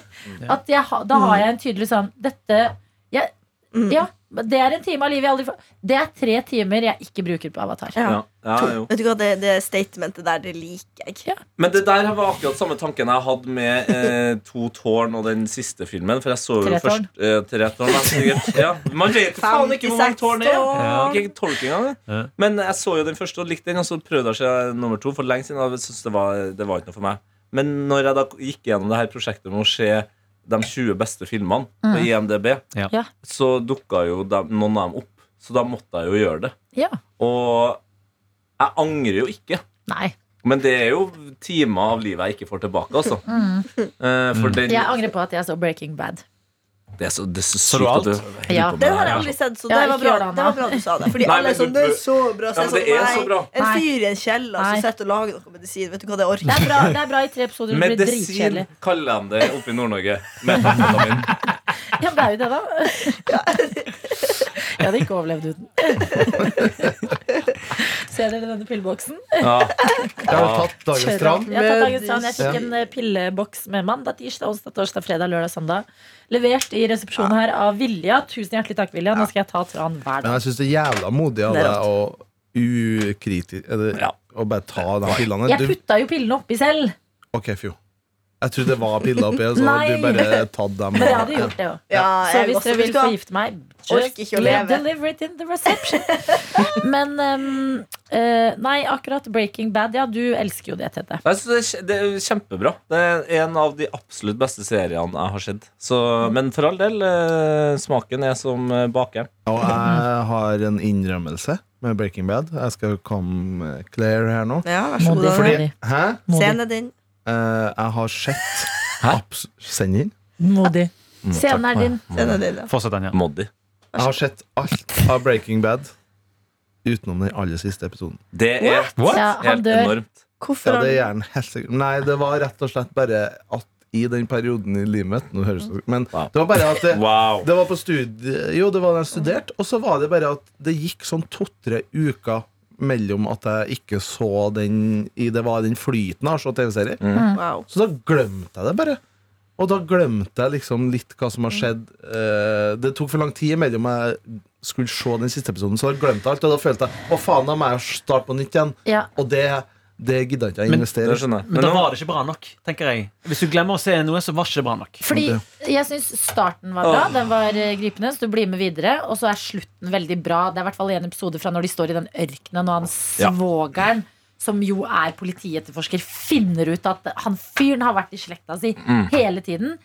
Speaker 3: At jeg, ha- da har jeg en tydelig sånn Dette jeg,
Speaker 4: Mm.
Speaker 3: Ja, men det er en time av livet jeg aldri får. Det er tre timer jeg ikke bruker på Avatar.
Speaker 4: Ja.
Speaker 6: Ja. Ja, jo.
Speaker 4: Vet du hva, det, det statementet der, det liker jeg.
Speaker 6: Men det der var akkurat samme tanken jeg hadde med eh, To tårn og den siste filmen. For jeg så jo
Speaker 3: Tre tårn.
Speaker 6: først eh, Tre tårn. jeg sikkert- Ja. Man vet jo faen ikke hvor mange
Speaker 4: 56
Speaker 6: tårn det er.
Speaker 4: tårn.
Speaker 6: Ikke tolv engang.
Speaker 2: Ja.
Speaker 6: Men jeg så jo den første og likte den, og så prøvde jeg å se nummer to for lenge siden. Og jeg syntes det var, det var ikke noe for meg. Men når jeg da gikk gjennom det her prosjektet med å se de 20 beste filmene på IMDb,
Speaker 2: Ja.
Speaker 3: Mm. Ja.
Speaker 6: så dukka jo dem- noen av dem opp. Så da måtte jeg jo gjøre det.
Speaker 3: Ja.
Speaker 6: Og jeg angrer jo ikke.
Speaker 3: Nei.
Speaker 6: Men det er jo timer av livet jeg ikke får tilbake, altså. Eh, for den,
Speaker 3: Jeg angrer på at jeg så Breaking Bad.
Speaker 6: det er så, det er så
Speaker 2: du
Speaker 6: sykt at
Speaker 2: alt?
Speaker 6: du holder
Speaker 3: Ja.
Speaker 6: på med
Speaker 4: Det har jeg
Speaker 6: her,
Speaker 4: aldri
Speaker 6: altså.
Speaker 4: sett, så
Speaker 3: Ja,
Speaker 4: det var
Speaker 3: ikke gjør
Speaker 4: bra,
Speaker 3: det, Anna.
Speaker 4: det var bra du sa det. Fordi
Speaker 6: Nei,
Speaker 4: alle
Speaker 6: men
Speaker 4: er sånn
Speaker 6: du-
Speaker 4: Det er så bra. Så
Speaker 6: Ja,
Speaker 4: jeg
Speaker 6: men det er så
Speaker 4: sånn, nei,
Speaker 6: bra.
Speaker 4: en
Speaker 3: Nei.
Speaker 4: fyr i en kjeller
Speaker 3: Nei.
Speaker 4: som sitter og lager noe medisin. Vet du hva, det orker
Speaker 3: Det
Speaker 4: jeg.
Speaker 3: er bra, det er bra i tre episoder. Det blir
Speaker 6: Medisin
Speaker 3: dritkjedelig.
Speaker 6: kaller de det oppe i Nord-Norge. Metafetamin.
Speaker 3: Ja, men det er jo det, da. Jeg hadde ikke overlevd uten. Ser dere denne pilleboksen?
Speaker 6: Ja.
Speaker 5: Jeg har tatt dagens tran.
Speaker 3: Jeg, har tatt dagens tran. jeg fikk en eh, pilleboks med mandag, tirsdag, onsdag, torsdag, fredag, lørdag, søndag. Levert i resepsjonen her av Vilja. Tusen hjertelig takk, Vilja. Nå skal jeg ta tran hver
Speaker 5: Men
Speaker 3: dag.
Speaker 5: jeg syns det er jævla modig av
Speaker 4: Det er
Speaker 5: deg å ukritisk er det-
Speaker 6: Ja.
Speaker 5: Å bare ta de pillene.
Speaker 3: Jeg
Speaker 5: Du,
Speaker 3: putta jo pillene oppi selv,
Speaker 5: ok, fjo. Jeg trodde det var piller oppi, og så hadde du
Speaker 3: Nei.
Speaker 5: bare tatt dem.
Speaker 3: men jeg hadde gjort det jo.
Speaker 4: Ja,
Speaker 3: Så
Speaker 4: jeg
Speaker 3: hvis
Speaker 4: også.
Speaker 3: dere
Speaker 4: Vet
Speaker 3: vil
Speaker 4: du hva?
Speaker 3: forgifte meg,
Speaker 4: Orker
Speaker 3: just
Speaker 4: ikke å leve.
Speaker 3: deliver it in the reception. Men ehm, eh, Nei, akkurat Breaking Bad, ja, du elsker jo det, Tete.
Speaker 6: Jeg synes det, er kje- det er kjempebra. Det er en av de absolutt beste seriene jeg har sett. Så, men for all del, eh, smaken er som eh, bakeren.
Speaker 5: Og jeg har en innrømmelse med Breaking Bad. Jeg skal komme eh, clear her nå.
Speaker 4: Ja, vær så god.
Speaker 3: Modig.
Speaker 4: Anna.
Speaker 5: Fordi, hæ?
Speaker 4: Scenen din.
Speaker 5: Eh, jeg har sett abs Sender?
Speaker 3: Modig. Scenen er din.
Speaker 4: Scenen din, ja.
Speaker 2: Fortsett den, ja.
Speaker 6: Moddi.
Speaker 5: Jeg har sett alt av Breaking Bad utenom den aller siste episoden.
Speaker 6: Det er
Speaker 3: Ja, han
Speaker 6: helt
Speaker 3: dør.
Speaker 6: enormt.
Speaker 4: Hvorfor
Speaker 5: Ja,
Speaker 4: har
Speaker 5: det er
Speaker 4: du
Speaker 5: gjerne helt sikkert Nei, det var rett og slett bare at i den perioden i livet mitt Nå høres det Men
Speaker 6: Wow.
Speaker 5: det var bare at det,
Speaker 6: Wow.
Speaker 5: det var på studie Jo, det var da jeg studerte, og så var det bare at det gikk sånn to-tre uker mellom at jeg ikke så
Speaker 6: Mm.
Speaker 5: den i Det var den flyten av å se TV-serier.
Speaker 4: Wow.
Speaker 5: Så da glemte jeg det bare. Og Og da glemte jeg liksom litt hva som har skjedd. Eh, Det tok for lang tid mellom jeg skulle se den siste episoden, så da glemte jeg alt. Og da følte jeg å faen, da må jeg starte på nytt igjen.
Speaker 3: Ja.
Speaker 5: Og det, det gidda ikke jeg
Speaker 2: Men-
Speaker 5: investere
Speaker 6: Det
Speaker 5: i.
Speaker 6: sånn- skjønner jeg.
Speaker 2: Men
Speaker 6: Men
Speaker 2: da
Speaker 6: nå,
Speaker 2: var det ikke bra nok, tenker jeg. Hvis du glemmer å se noe, så var det ikke bra nok.
Speaker 3: Fordi jeg syns starten var bra.
Speaker 6: Åh.
Speaker 3: Den var eh, gripende, så du blir med videre. Og så er slutten veldig bra. Det er i hvert fall en episode fra når de står i den ørkenen, og han
Speaker 6: Ja.
Speaker 3: svogeren, som jo er politietterforsker, finner ut at han fyren har vært i slekta si
Speaker 6: Mm.
Speaker 3: hele tiden.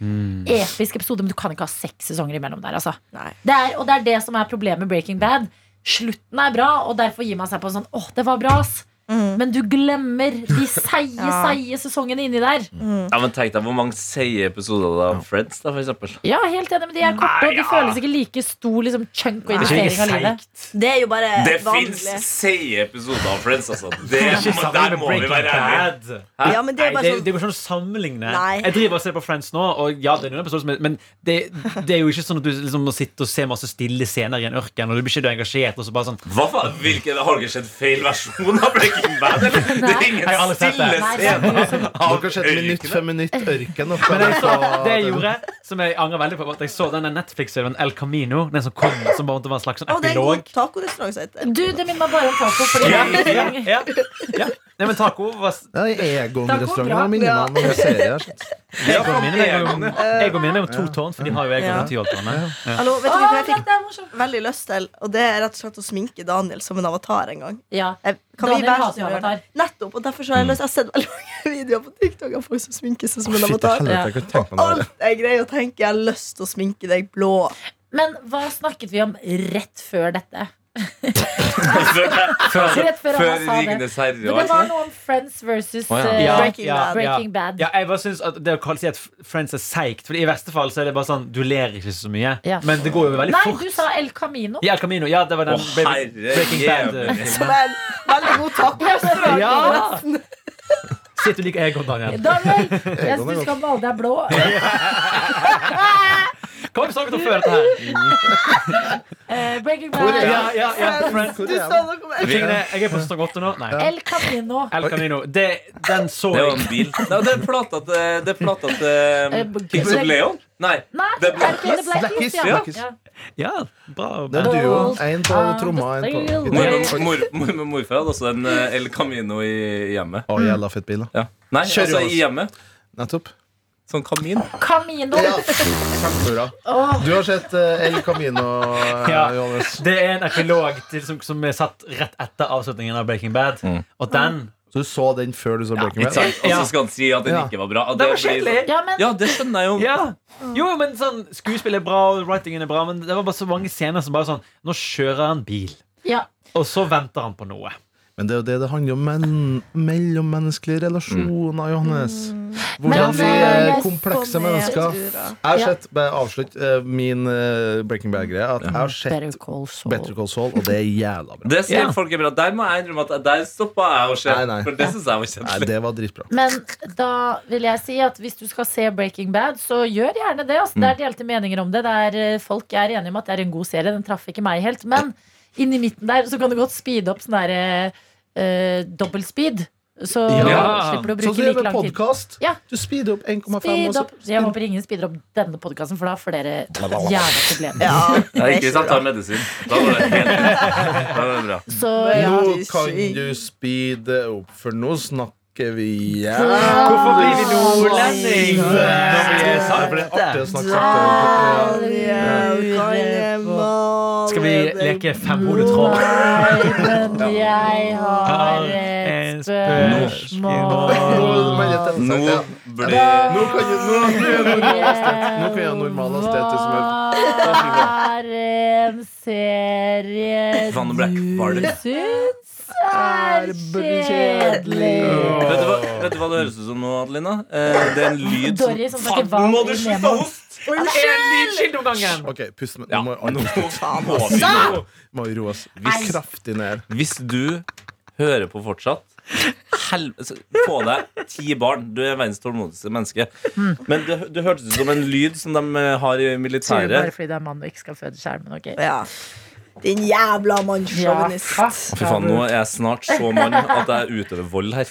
Speaker 3: Episk episode, men du kan ikke ha seks sesonger imellom der, altså.
Speaker 4: Nei.
Speaker 3: Det er, og det er det som er problemet med Breaking Bad. Slutten er bra, og derfor gir man seg på en sånn åh, det var bra, ass. Men du glemmer de seige,
Speaker 4: Ja.
Speaker 3: seige sesongene inni der.
Speaker 6: ja, men tenk deg hvor mange seige episoder av Friends, da, for eksempel.
Speaker 3: Ja, helt enig, men de er korte, og de føles ikke like stor liksom, chunk og
Speaker 2: Det er
Speaker 3: investering
Speaker 2: ikke
Speaker 3: av livet.
Speaker 2: seigt.
Speaker 4: Det er jo bare
Speaker 6: Det fins
Speaker 4: vanlig.
Speaker 6: seige episoder av Friends, altså. Det,
Speaker 2: Det er ikke
Speaker 6: der
Speaker 2: sammenlignet
Speaker 6: må
Speaker 2: med
Speaker 6: vi
Speaker 2: Breaking
Speaker 6: være ærlige.
Speaker 2: Bad.
Speaker 6: Hæ?
Speaker 4: Ja, men det er
Speaker 2: Nei, det,
Speaker 4: bare
Speaker 2: det
Speaker 4: sånn
Speaker 2: er jo ikke sånn å sammenligne.
Speaker 4: Nei.
Speaker 2: Jeg driver og ser på Friends nå, og ja, det er noen episoder som er, men det, det er jo ikke sånn at du liksom må sitte og se masse stille scener i en ørken, og du blir ikke engasjert. Og så bare sånn
Speaker 6: Hva faen? Hvilken, har dere sett feil versjon av Breaking Bad? Eller? Det er
Speaker 2: Jeg
Speaker 6: ingen
Speaker 2: har aldri sett
Speaker 6: stille
Speaker 2: det.
Speaker 3: Nei, det er
Speaker 6: scene av
Speaker 5: Dere har sett minutt
Speaker 6: øykene.
Speaker 5: for minutt ørken. Og
Speaker 2: Men jeg så,
Speaker 5: fra-
Speaker 2: det jeg gjorde, som jeg angrer veldig på, var at jeg så denne Netflix-serien El Camino. Den som kom som bare var en slags sånn
Speaker 4: Å, det er en god
Speaker 2: epilog.
Speaker 4: tacorestaurant som heter
Speaker 3: Du, det minner meg bare om taco. Fordi
Speaker 2: Ja, ja, ja. Nei, men taco var s-
Speaker 5: Ja, Egon-restauranten
Speaker 3: bra.
Speaker 5: er minnemann om serier.
Speaker 2: Jeg og mine jeg og- jeg og mine er jo to tårn, for de har jo jeg
Speaker 4: Ja.
Speaker 2: og tiårtårnet.
Speaker 4: Hallo, vet du
Speaker 3: Å,
Speaker 4: hva jeg fikk
Speaker 3: dette er morsomt.
Speaker 4: veldig lyst til? Og det er rett og slett å sminke Daniel som en avatar en gang.
Speaker 3: Ja.
Speaker 4: Jeg-
Speaker 3: Daniel
Speaker 4: være
Speaker 3: hater
Speaker 4: så snill
Speaker 3: jo
Speaker 4: å gjøre det?
Speaker 3: avatar.
Speaker 4: Nettopp, og derfor så har jeg lyst Jeg har sett veldig mange videoer på TikTok av folk som sminker seg som en
Speaker 5: Fytti
Speaker 4: avatar.
Speaker 5: helvete, jeg kan tenke meg det.
Speaker 4: Alt jeg greier å tenke, jeg har lyst til å sminke deg blå.
Speaker 3: Men hva snakket vi om rett før dette? Rett før
Speaker 6: Før
Speaker 3: han sa det.
Speaker 6: Ringenes herre
Speaker 3: Men
Speaker 6: og
Speaker 3: det
Speaker 6: alt
Speaker 3: var
Speaker 6: sånt.
Speaker 3: noe om Friends versus
Speaker 6: Å, ja.
Speaker 3: eh,
Speaker 2: Ja,
Speaker 3: Breaking,
Speaker 2: ja,
Speaker 3: Bad. Breaking Bad.
Speaker 2: Ja, jeg bare synes at Det å kalle- si at Friends er seigt Fordi I verste fall så er det bare sånn du ler ikke så mye,
Speaker 3: Ja.
Speaker 2: men det går jo veldig
Speaker 3: Nei,
Speaker 2: fort.
Speaker 3: du sa El Camino.
Speaker 2: I El Camino, ja, det var den
Speaker 6: Å,
Speaker 2: Breaking-
Speaker 6: herre
Speaker 2: Breaking
Speaker 6: jævlig.
Speaker 2: Bad. eh.
Speaker 4: Som er en veldig god tacorestaurant.
Speaker 2: Ja! Si at du liker Egon, Daniel.
Speaker 3: Daniel, jeg syns du skal male deg blå.
Speaker 2: Hva har vi snakket om før dette her?
Speaker 3: Eh, Breaking
Speaker 5: Hvor er
Speaker 3: Bad.
Speaker 2: Ja, ja, ja, Friends.
Speaker 5: Hvor
Speaker 4: Du
Speaker 5: er
Speaker 4: sa
Speaker 5: den?
Speaker 4: noe om El
Speaker 2: Tingene, jeg er på sesong åtte nå. Nei.
Speaker 3: El Camino.
Speaker 2: El Camino. Det, den så
Speaker 6: Det var en
Speaker 2: jeg.
Speaker 6: bil. Nei, det er plata til, det er plata til
Speaker 3: Eh,
Speaker 6: um, Kings of
Speaker 3: Black-
Speaker 6: Leon. Nei.
Speaker 3: Nei,
Speaker 6: The
Speaker 3: er det ikke The
Speaker 6: Blacklist.
Speaker 5: Blacklist,
Speaker 3: Blacklist?
Speaker 5: Blacklist.
Speaker 3: Ja.
Speaker 2: Ja, bra.
Speaker 5: Det er duo. En på
Speaker 2: Ah,
Speaker 5: tromma, en på
Speaker 6: Mor,
Speaker 5: gitar.
Speaker 6: mor, mor, mor, morfar hadde også en eh, El Camino i hjemmet.
Speaker 5: Å, jævla fett bil, da.
Speaker 6: Ja. Nei,
Speaker 5: Kjør,
Speaker 6: altså
Speaker 5: Jonas.
Speaker 6: i hjemmet.
Speaker 5: Nettopp.
Speaker 6: Sånn kamin.
Speaker 3: Ja. Camino.
Speaker 5: Ja, kjempebra. Du har sett eh, El Camino, eh,
Speaker 2: Ja.
Speaker 5: Johannes.
Speaker 2: Det er en epilog til, som, som er satt rett etter avslutningen av Breaking Bad. Og den
Speaker 5: Så du så den før du så Breaking Bad?
Speaker 6: Ikke sant? Og så skal han si at den
Speaker 5: Ja.
Speaker 6: ikke var bra. Og
Speaker 2: Den var
Speaker 6: blir-
Speaker 2: kjedelig!
Speaker 3: Ja, men
Speaker 6: Ja, det skjønner jeg jo.
Speaker 2: Ja.
Speaker 6: Mm.
Speaker 2: Jo, men sånn, Skuespill er bra, og writingen er bra, men det var bare så mange scener som bare sånn Nå kjører han bil,
Speaker 3: ja.
Speaker 2: og så venter han på noe.
Speaker 5: Men det er jo det det handler om. Men, mellommenneskelige relasjoner, Johannes.
Speaker 3: Men,
Speaker 5: Hvordan vi
Speaker 3: eh,
Speaker 5: er
Speaker 3: jeg
Speaker 5: komplekse
Speaker 4: Camino.
Speaker 5: mennesker.
Speaker 4: Jeg tror det.
Speaker 5: Jeg har
Speaker 3: Ja.
Speaker 5: sett, bare avslutt eh, min eh, Breaking Bad-greie, at jeg har sett
Speaker 3: Call
Speaker 5: Better Call Saul, og det er jævla bra.
Speaker 6: Det sier
Speaker 2: Ja.
Speaker 6: folk er bra. Der må jeg innrømme at der stoppa jeg å se.
Speaker 5: Nei, nei.
Speaker 6: For det synes jeg var
Speaker 5: Nei,
Speaker 6: kjedelig.
Speaker 5: det var dritbra.
Speaker 3: Men da vil jeg si at hvis du skal se Breaking Bad, så gjør gjerne det. Altså. Det er delte meninger om det. det er, eh, folk er enige om at det er en god serie. Den traff ikke meg helt. Men inni midten der så kan du godt speede opp sånn der uh, dobbel speed. Så
Speaker 2: Ja.
Speaker 3: slipper du å bruke
Speaker 5: Sånn som det er
Speaker 3: like
Speaker 5: med
Speaker 3: lang tid.
Speaker 5: podkast.
Speaker 3: Ja.
Speaker 5: Du speeder opp 1,5. og
Speaker 3: Speed
Speaker 5: så-
Speaker 3: opp. Jeg håper ingen speeder opp denne podkasten, for da får dere gjerne problemer.
Speaker 4: Ja,
Speaker 6: Det er ikke
Speaker 4: det
Speaker 6: hvis jeg
Speaker 4: er
Speaker 6: tar medisin. Da var det helt da var det bra.
Speaker 3: Så
Speaker 4: Ja.
Speaker 5: Nå
Speaker 4: det er
Speaker 5: kan
Speaker 4: sykt.
Speaker 5: du speede opp, for nå snakker vi
Speaker 2: Hvorfor blir vi
Speaker 4: nordlending?
Speaker 5: Det ble artig å snakke sakte.
Speaker 2: Skal vi leke femhodet troll?
Speaker 3: Nei, men jeg har et spørsmål.
Speaker 6: Nå
Speaker 5: Nå
Speaker 6: ble
Speaker 5: Nå kan jeg, nå, nå er jeg normal estet. Nå kan jeg normal estet som er
Speaker 3: Hva er en serie
Speaker 6: Vann og Black, var
Speaker 3: du
Speaker 6: det?
Speaker 3: syns er kjedelig?
Speaker 6: Vet du, hva, vet du hva det høres ut som nå, Adelina? Eh, det er en lyd som
Speaker 3: Dory som snakker
Speaker 6: Faen,
Speaker 3: vann
Speaker 6: må du
Speaker 3: i
Speaker 6: slutte å
Speaker 3: Nemo.
Speaker 6: hoste!
Speaker 2: En lydskilt om gangen!
Speaker 5: Ok, pust med
Speaker 6: Ja,
Speaker 5: Nå må
Speaker 6: nå
Speaker 5: alle
Speaker 6: må vi nå.
Speaker 5: må vi roe oss Vi kraftig ned
Speaker 6: Hvis du hører på fortsatt hel- altså, Få deg ti barn. Du er verdens tålmodigste menneske. Men det, det hørtes ut som en lyd som de eh,
Speaker 3: Tror
Speaker 6: har i
Speaker 3: du bare
Speaker 6: militæret.
Speaker 3: fordi det er mann og ikke skal føde skjermen, ok?
Speaker 4: Ja. Din jævla
Speaker 3: Ja,
Speaker 4: mannssjåvinist.
Speaker 6: Fy faen, nå er jeg snart så mann at jeg utøver vold her.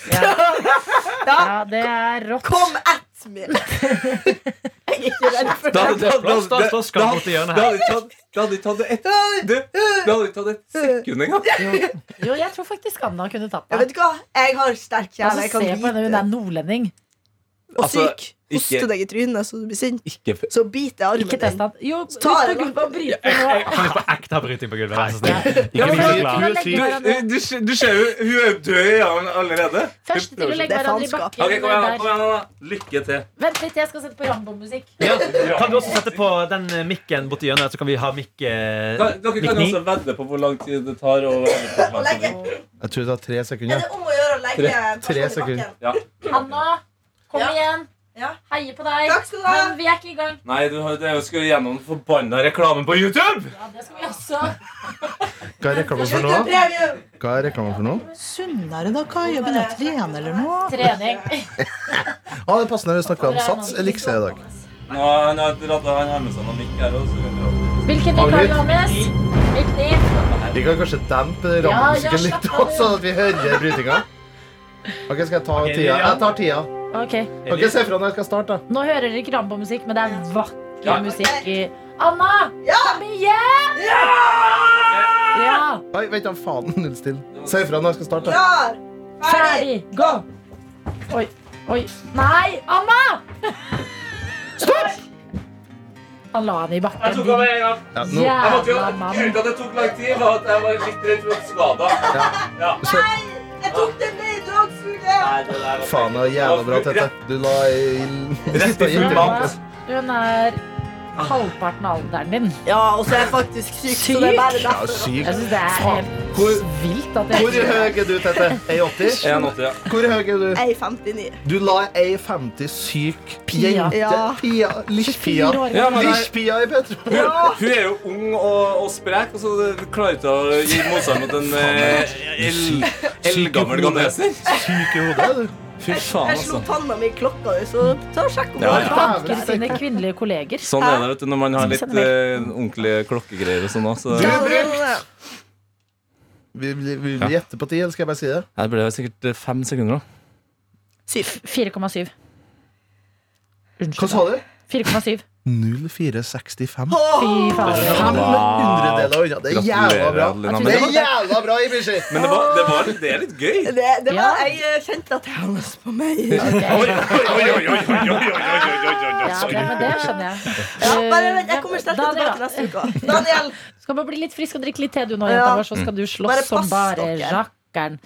Speaker 3: Ja, det er rått.
Speaker 4: Kom etter litt mer. Jeg er ikke redd for
Speaker 6: Da
Speaker 4: det.
Speaker 6: hadde
Speaker 2: Det er plass til slåsskamp borti hjørnet her.
Speaker 6: vi tatt et Du, det hadde ikke tatt et sekund engang.
Speaker 3: Jo, jeg tror faktisk Anna kunne tatt
Speaker 4: Jeg
Speaker 3: det.
Speaker 4: vet du hva, jeg har sterk
Speaker 3: Altså,
Speaker 4: kjerne.
Speaker 3: se
Speaker 4: Jeg
Speaker 3: på
Speaker 4: kan
Speaker 3: henne, hun
Speaker 4: bite
Speaker 3: er nordlending.
Speaker 4: og
Speaker 6: Altså,
Speaker 4: syk. Hoste
Speaker 6: ikke-
Speaker 4: deg i trynet så du blir sint.
Speaker 6: Ikke f-
Speaker 4: Så biter jeg
Speaker 3: Ikke
Speaker 4: armen
Speaker 3: test
Speaker 4: din.
Speaker 3: han. Jo, hvis
Speaker 4: Ta
Speaker 3: du
Speaker 4: det,
Speaker 3: gidder å bryte
Speaker 2: Jeg, jeg
Speaker 3: nå.
Speaker 2: kan jo på ekte ha bryting på gulvet. vær så snill.
Speaker 3: Ja,
Speaker 2: Ikke bli så
Speaker 3: men først
Speaker 2: glad.
Speaker 3: til å legge
Speaker 5: Du-
Speaker 3: hverandre-
Speaker 6: Du, du, du ser jo Hun er jo død i armen allerede.
Speaker 3: Først til å legge
Speaker 4: Det er
Speaker 3: hverandre i
Speaker 4: faenskap.
Speaker 3: bakken.
Speaker 6: Ok, kom igjen, da,
Speaker 3: der.
Speaker 6: kom igjen. da. Lykke til.
Speaker 3: Vent litt, jeg skal sette på Rambo-musikk.
Speaker 2: Kan du også sette på den eh, mikken borti hjørnet, så kan vi ha mikk eh,
Speaker 6: Kan- Dere
Speaker 2: mikk
Speaker 6: kan
Speaker 2: ni?
Speaker 6: også vedde på hvor lang tid det tar å
Speaker 4: Å legge-
Speaker 5: Jeg tror det tar tre
Speaker 4: Er
Speaker 5: sekunder.
Speaker 4: det om å gjøre å legge personen
Speaker 5: tre
Speaker 4: i bakken?
Speaker 5: sekunder.
Speaker 3: Anna, kom
Speaker 4: Ja.
Speaker 3: igjen.
Speaker 4: Ja.
Speaker 3: Heier på deg.
Speaker 4: Takk skal du ha.
Speaker 3: Men vi er ikke i gang.
Speaker 6: Nei, du har- det er jo skal gjennom den forbanna reklamen på YouTube!
Speaker 3: Ja, det skal vi også.
Speaker 5: Hva er reklamen for
Speaker 4: Slutt med
Speaker 5: nå?
Speaker 4: premium!
Speaker 5: Hva er reklamen for nå?
Speaker 7: Sunnere, da? Hva jobber du med? Trener eller noe?
Speaker 3: Trening.
Speaker 5: Ja, det er passende. Vi snakker om Sats Elixir i dag.
Speaker 6: Nå, han har dratt han har med seg noen mikk her også.
Speaker 3: Hvilken
Speaker 5: Har
Speaker 3: nikk
Speaker 5: du-
Speaker 3: har Johannes? Hvilken nikk?
Speaker 5: Vi kan kanskje dempe
Speaker 3: Ja, ja,
Speaker 5: rammemusikken litt,
Speaker 3: slapp av,
Speaker 5: også, sånn at vi hører brytinga. Ok, Skal jeg ta
Speaker 2: Ok,
Speaker 5: tida?
Speaker 2: ja.
Speaker 5: Jeg tar tida.
Speaker 3: Ok,
Speaker 5: Ok, Se fra når jeg skal starte. da.
Speaker 3: Nå hører dere ikke Rambo-musikk, men det er vakker
Speaker 6: Ja.
Speaker 3: musikk i Anna! Kom igjen! Ja!
Speaker 5: Oi, vent da, faen. Null stille. Si fra når jeg skal starte.
Speaker 4: Klar, ferdig,
Speaker 3: Ferdig, gå! Oi, oi. Nei, Anna! Stopp! Han la henne i
Speaker 6: Jeg
Speaker 3: bakken.
Speaker 6: tok av meg en gang.
Speaker 5: Ja,
Speaker 3: din
Speaker 5: nå.
Speaker 6: Jeg måtte jo,
Speaker 3: Jævla
Speaker 6: Grunnen
Speaker 3: mann.
Speaker 6: til at det tok lang tid, var at jeg var litt redd for å skade. Ja.
Speaker 5: Så,
Speaker 4: Jeg tok det med i dragsuget!
Speaker 6: Nei, det der var-
Speaker 5: faen, det var jævla bra, Tete. Du la
Speaker 6: Rett i full
Speaker 5: i
Speaker 6: bank.
Speaker 3: Hun er halvparten av alderen din.
Speaker 4: Ja, og så er jeg faktisk syk, så det er bare
Speaker 5: Ja,
Speaker 4: derfor.
Speaker 5: sykt.
Speaker 3: Jeg synes det er
Speaker 5: Faen.
Speaker 3: helt
Speaker 5: Hvor,
Speaker 3: vilt at
Speaker 5: hvor
Speaker 3: jeg
Speaker 5: høy er du, Tete? 1,80?
Speaker 6: 1,80, ja.
Speaker 5: Hvor høy er du?
Speaker 4: Jeg er 59.
Speaker 5: Du la ei 50 syk
Speaker 3: Pia.
Speaker 5: jente
Speaker 4: Ja.
Speaker 5: Pia. Lichpia.
Speaker 3: Fire år
Speaker 6: Ja, men-
Speaker 5: Lichpia i Petro.
Speaker 6: Hun, hun er jo ung og, og sprek, og så klarer hun ikke å gi motstand mot en eh, el- eldgammel ganeser.
Speaker 5: Syk i hodet, er du.
Speaker 6: Fy faen,
Speaker 4: Jeg slo
Speaker 6: altså.
Speaker 4: panna mi i klokka, så ta og sjekk om
Speaker 6: Ja,
Speaker 4: det
Speaker 6: ja.
Speaker 4: er
Speaker 3: banker sine kvinnelige kolleger.
Speaker 6: Sånn er det vet du, når man har litt
Speaker 3: Sender
Speaker 6: eh, ordentlige klokkegreier og sånn også.
Speaker 4: Ja,
Speaker 6: Så
Speaker 4: det er det.
Speaker 5: Vi vi- vi gjetter på ti, eller skal jeg bare si det?
Speaker 6: her ble det sikkert eh, fem sekunder, da.
Speaker 4: Syv.
Speaker 3: 4,7.
Speaker 5: Hva sa du?
Speaker 3: 4,7.
Speaker 5: 0465.
Speaker 3: Fy fader.
Speaker 5: Fem hundredeler unna. Det er jævla bra. Det
Speaker 6: Gratulerer, Adelina. Men
Speaker 5: er
Speaker 6: det var-
Speaker 5: jævla bra, Ibishi!
Speaker 6: Men det var, det var det er litt gøy.
Speaker 4: Det, det
Speaker 3: Ja.
Speaker 4: var, jeg eh, kjente at jeg hadde lyst på meg.
Speaker 6: Oi, oi, oi, oi, oi, oi, oi, oi, oi, oi, oi, oi.
Speaker 3: Ja, det, men det skjønner jeg.
Speaker 4: Ja, bare vent, jeg kommer sterkere
Speaker 3: Daniel,
Speaker 4: tilbake neste uke. Daniel!
Speaker 3: Skal bare bli litt frisk og drikke litt te du nå,
Speaker 4: Ja. Mm.
Speaker 3: jenta vår, så skal du
Speaker 4: Bare
Speaker 3: slåss som
Speaker 4: pass
Speaker 3: bare
Speaker 4: dere.
Speaker 3: rakkeren.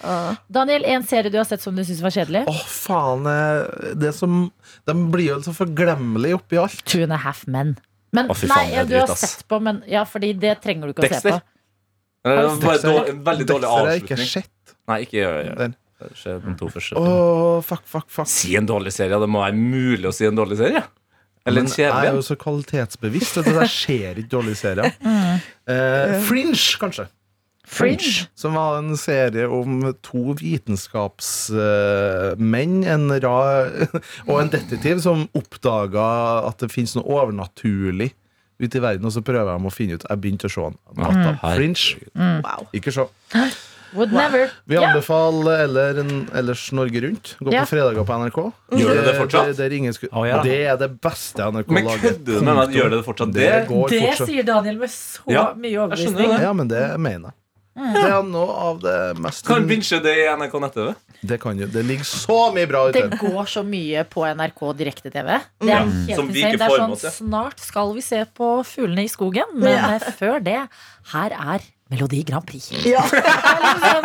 Speaker 3: Daniel, en serie du har sett som du syns var kjedelig?
Speaker 5: Å, faen. eh, Det som De blir jo så forglemmelige oppi alt.
Speaker 3: Two and a half men. Men
Speaker 6: Å, fy
Speaker 3: nei,
Speaker 6: faen, det er
Speaker 3: du har
Speaker 6: dritt, ass.
Speaker 3: sett på, men ja, fordi det trenger du ikke å
Speaker 6: Dexter?
Speaker 3: se på.
Speaker 6: Det var bare dårlig, veldig dårlig
Speaker 5: Dexter har jeg ikke
Speaker 6: avslutning.
Speaker 5: sett.
Speaker 6: Nei, ikke gjør det.
Speaker 5: Den.
Speaker 6: Se de to første.
Speaker 5: Å, fuck, fuck, fuck.
Speaker 6: Si en dårlig serie. Det må være mulig å si en dårlig serie. Eller
Speaker 5: Men
Speaker 6: en
Speaker 5: jeg er jo
Speaker 6: kjedelig.
Speaker 5: så kvalitetsbevisst. vet du, så Jeg ser ikke dårlige serier. Eh, Fringe, kanskje.
Speaker 3: Fringe.
Speaker 5: Som var en serie om to vitenskapsmenn en ra, og en detektiv som oppdaga at det fins noe overnaturlig ute i verden, og så prøver de å finne ut Jeg begynte å se den. Natta.
Speaker 6: Mm.
Speaker 5: Fringe.
Speaker 4: Wow.
Speaker 5: Ikke se.
Speaker 3: Would never.
Speaker 5: Vi anbefaler eller en, ellers Norge Rundt. Gå
Speaker 3: Ja.
Speaker 5: på fredager på NRK.
Speaker 6: Gjør det det fortsatt?
Speaker 5: Der, der ingen sku...
Speaker 2: Å, ja.
Speaker 5: Det er det beste NRK
Speaker 6: Men
Speaker 5: lager. Mm.
Speaker 6: kødder du med meg? Gjør det det fortsatt?
Speaker 5: Det
Speaker 6: Det-
Speaker 5: går
Speaker 3: Det
Speaker 5: fortsatt.
Speaker 3: sier Daniel med så
Speaker 6: Ja,
Speaker 3: mye
Speaker 6: Jeg skjønner
Speaker 3: overbevisning.
Speaker 6: det.
Speaker 5: Ja, men det mener jeg.
Speaker 3: Mm.
Speaker 5: Det er noe av det mest
Speaker 6: Kan binche det i NRK nett-TV.
Speaker 5: Det kan jo Det ligger så mye bra ute.
Speaker 3: Det går så mye på NRK direkte-TV. Det er helt
Speaker 6: Som vi
Speaker 3: insane.
Speaker 6: ikke
Speaker 3: Det er
Speaker 6: får
Speaker 3: sånn,
Speaker 6: med oss, ja.
Speaker 3: Snart skal vi se på fuglene i skogen, men eh, før det Her er Melodi Grand Prix.
Speaker 4: Ja.
Speaker 3: Liksom, eh,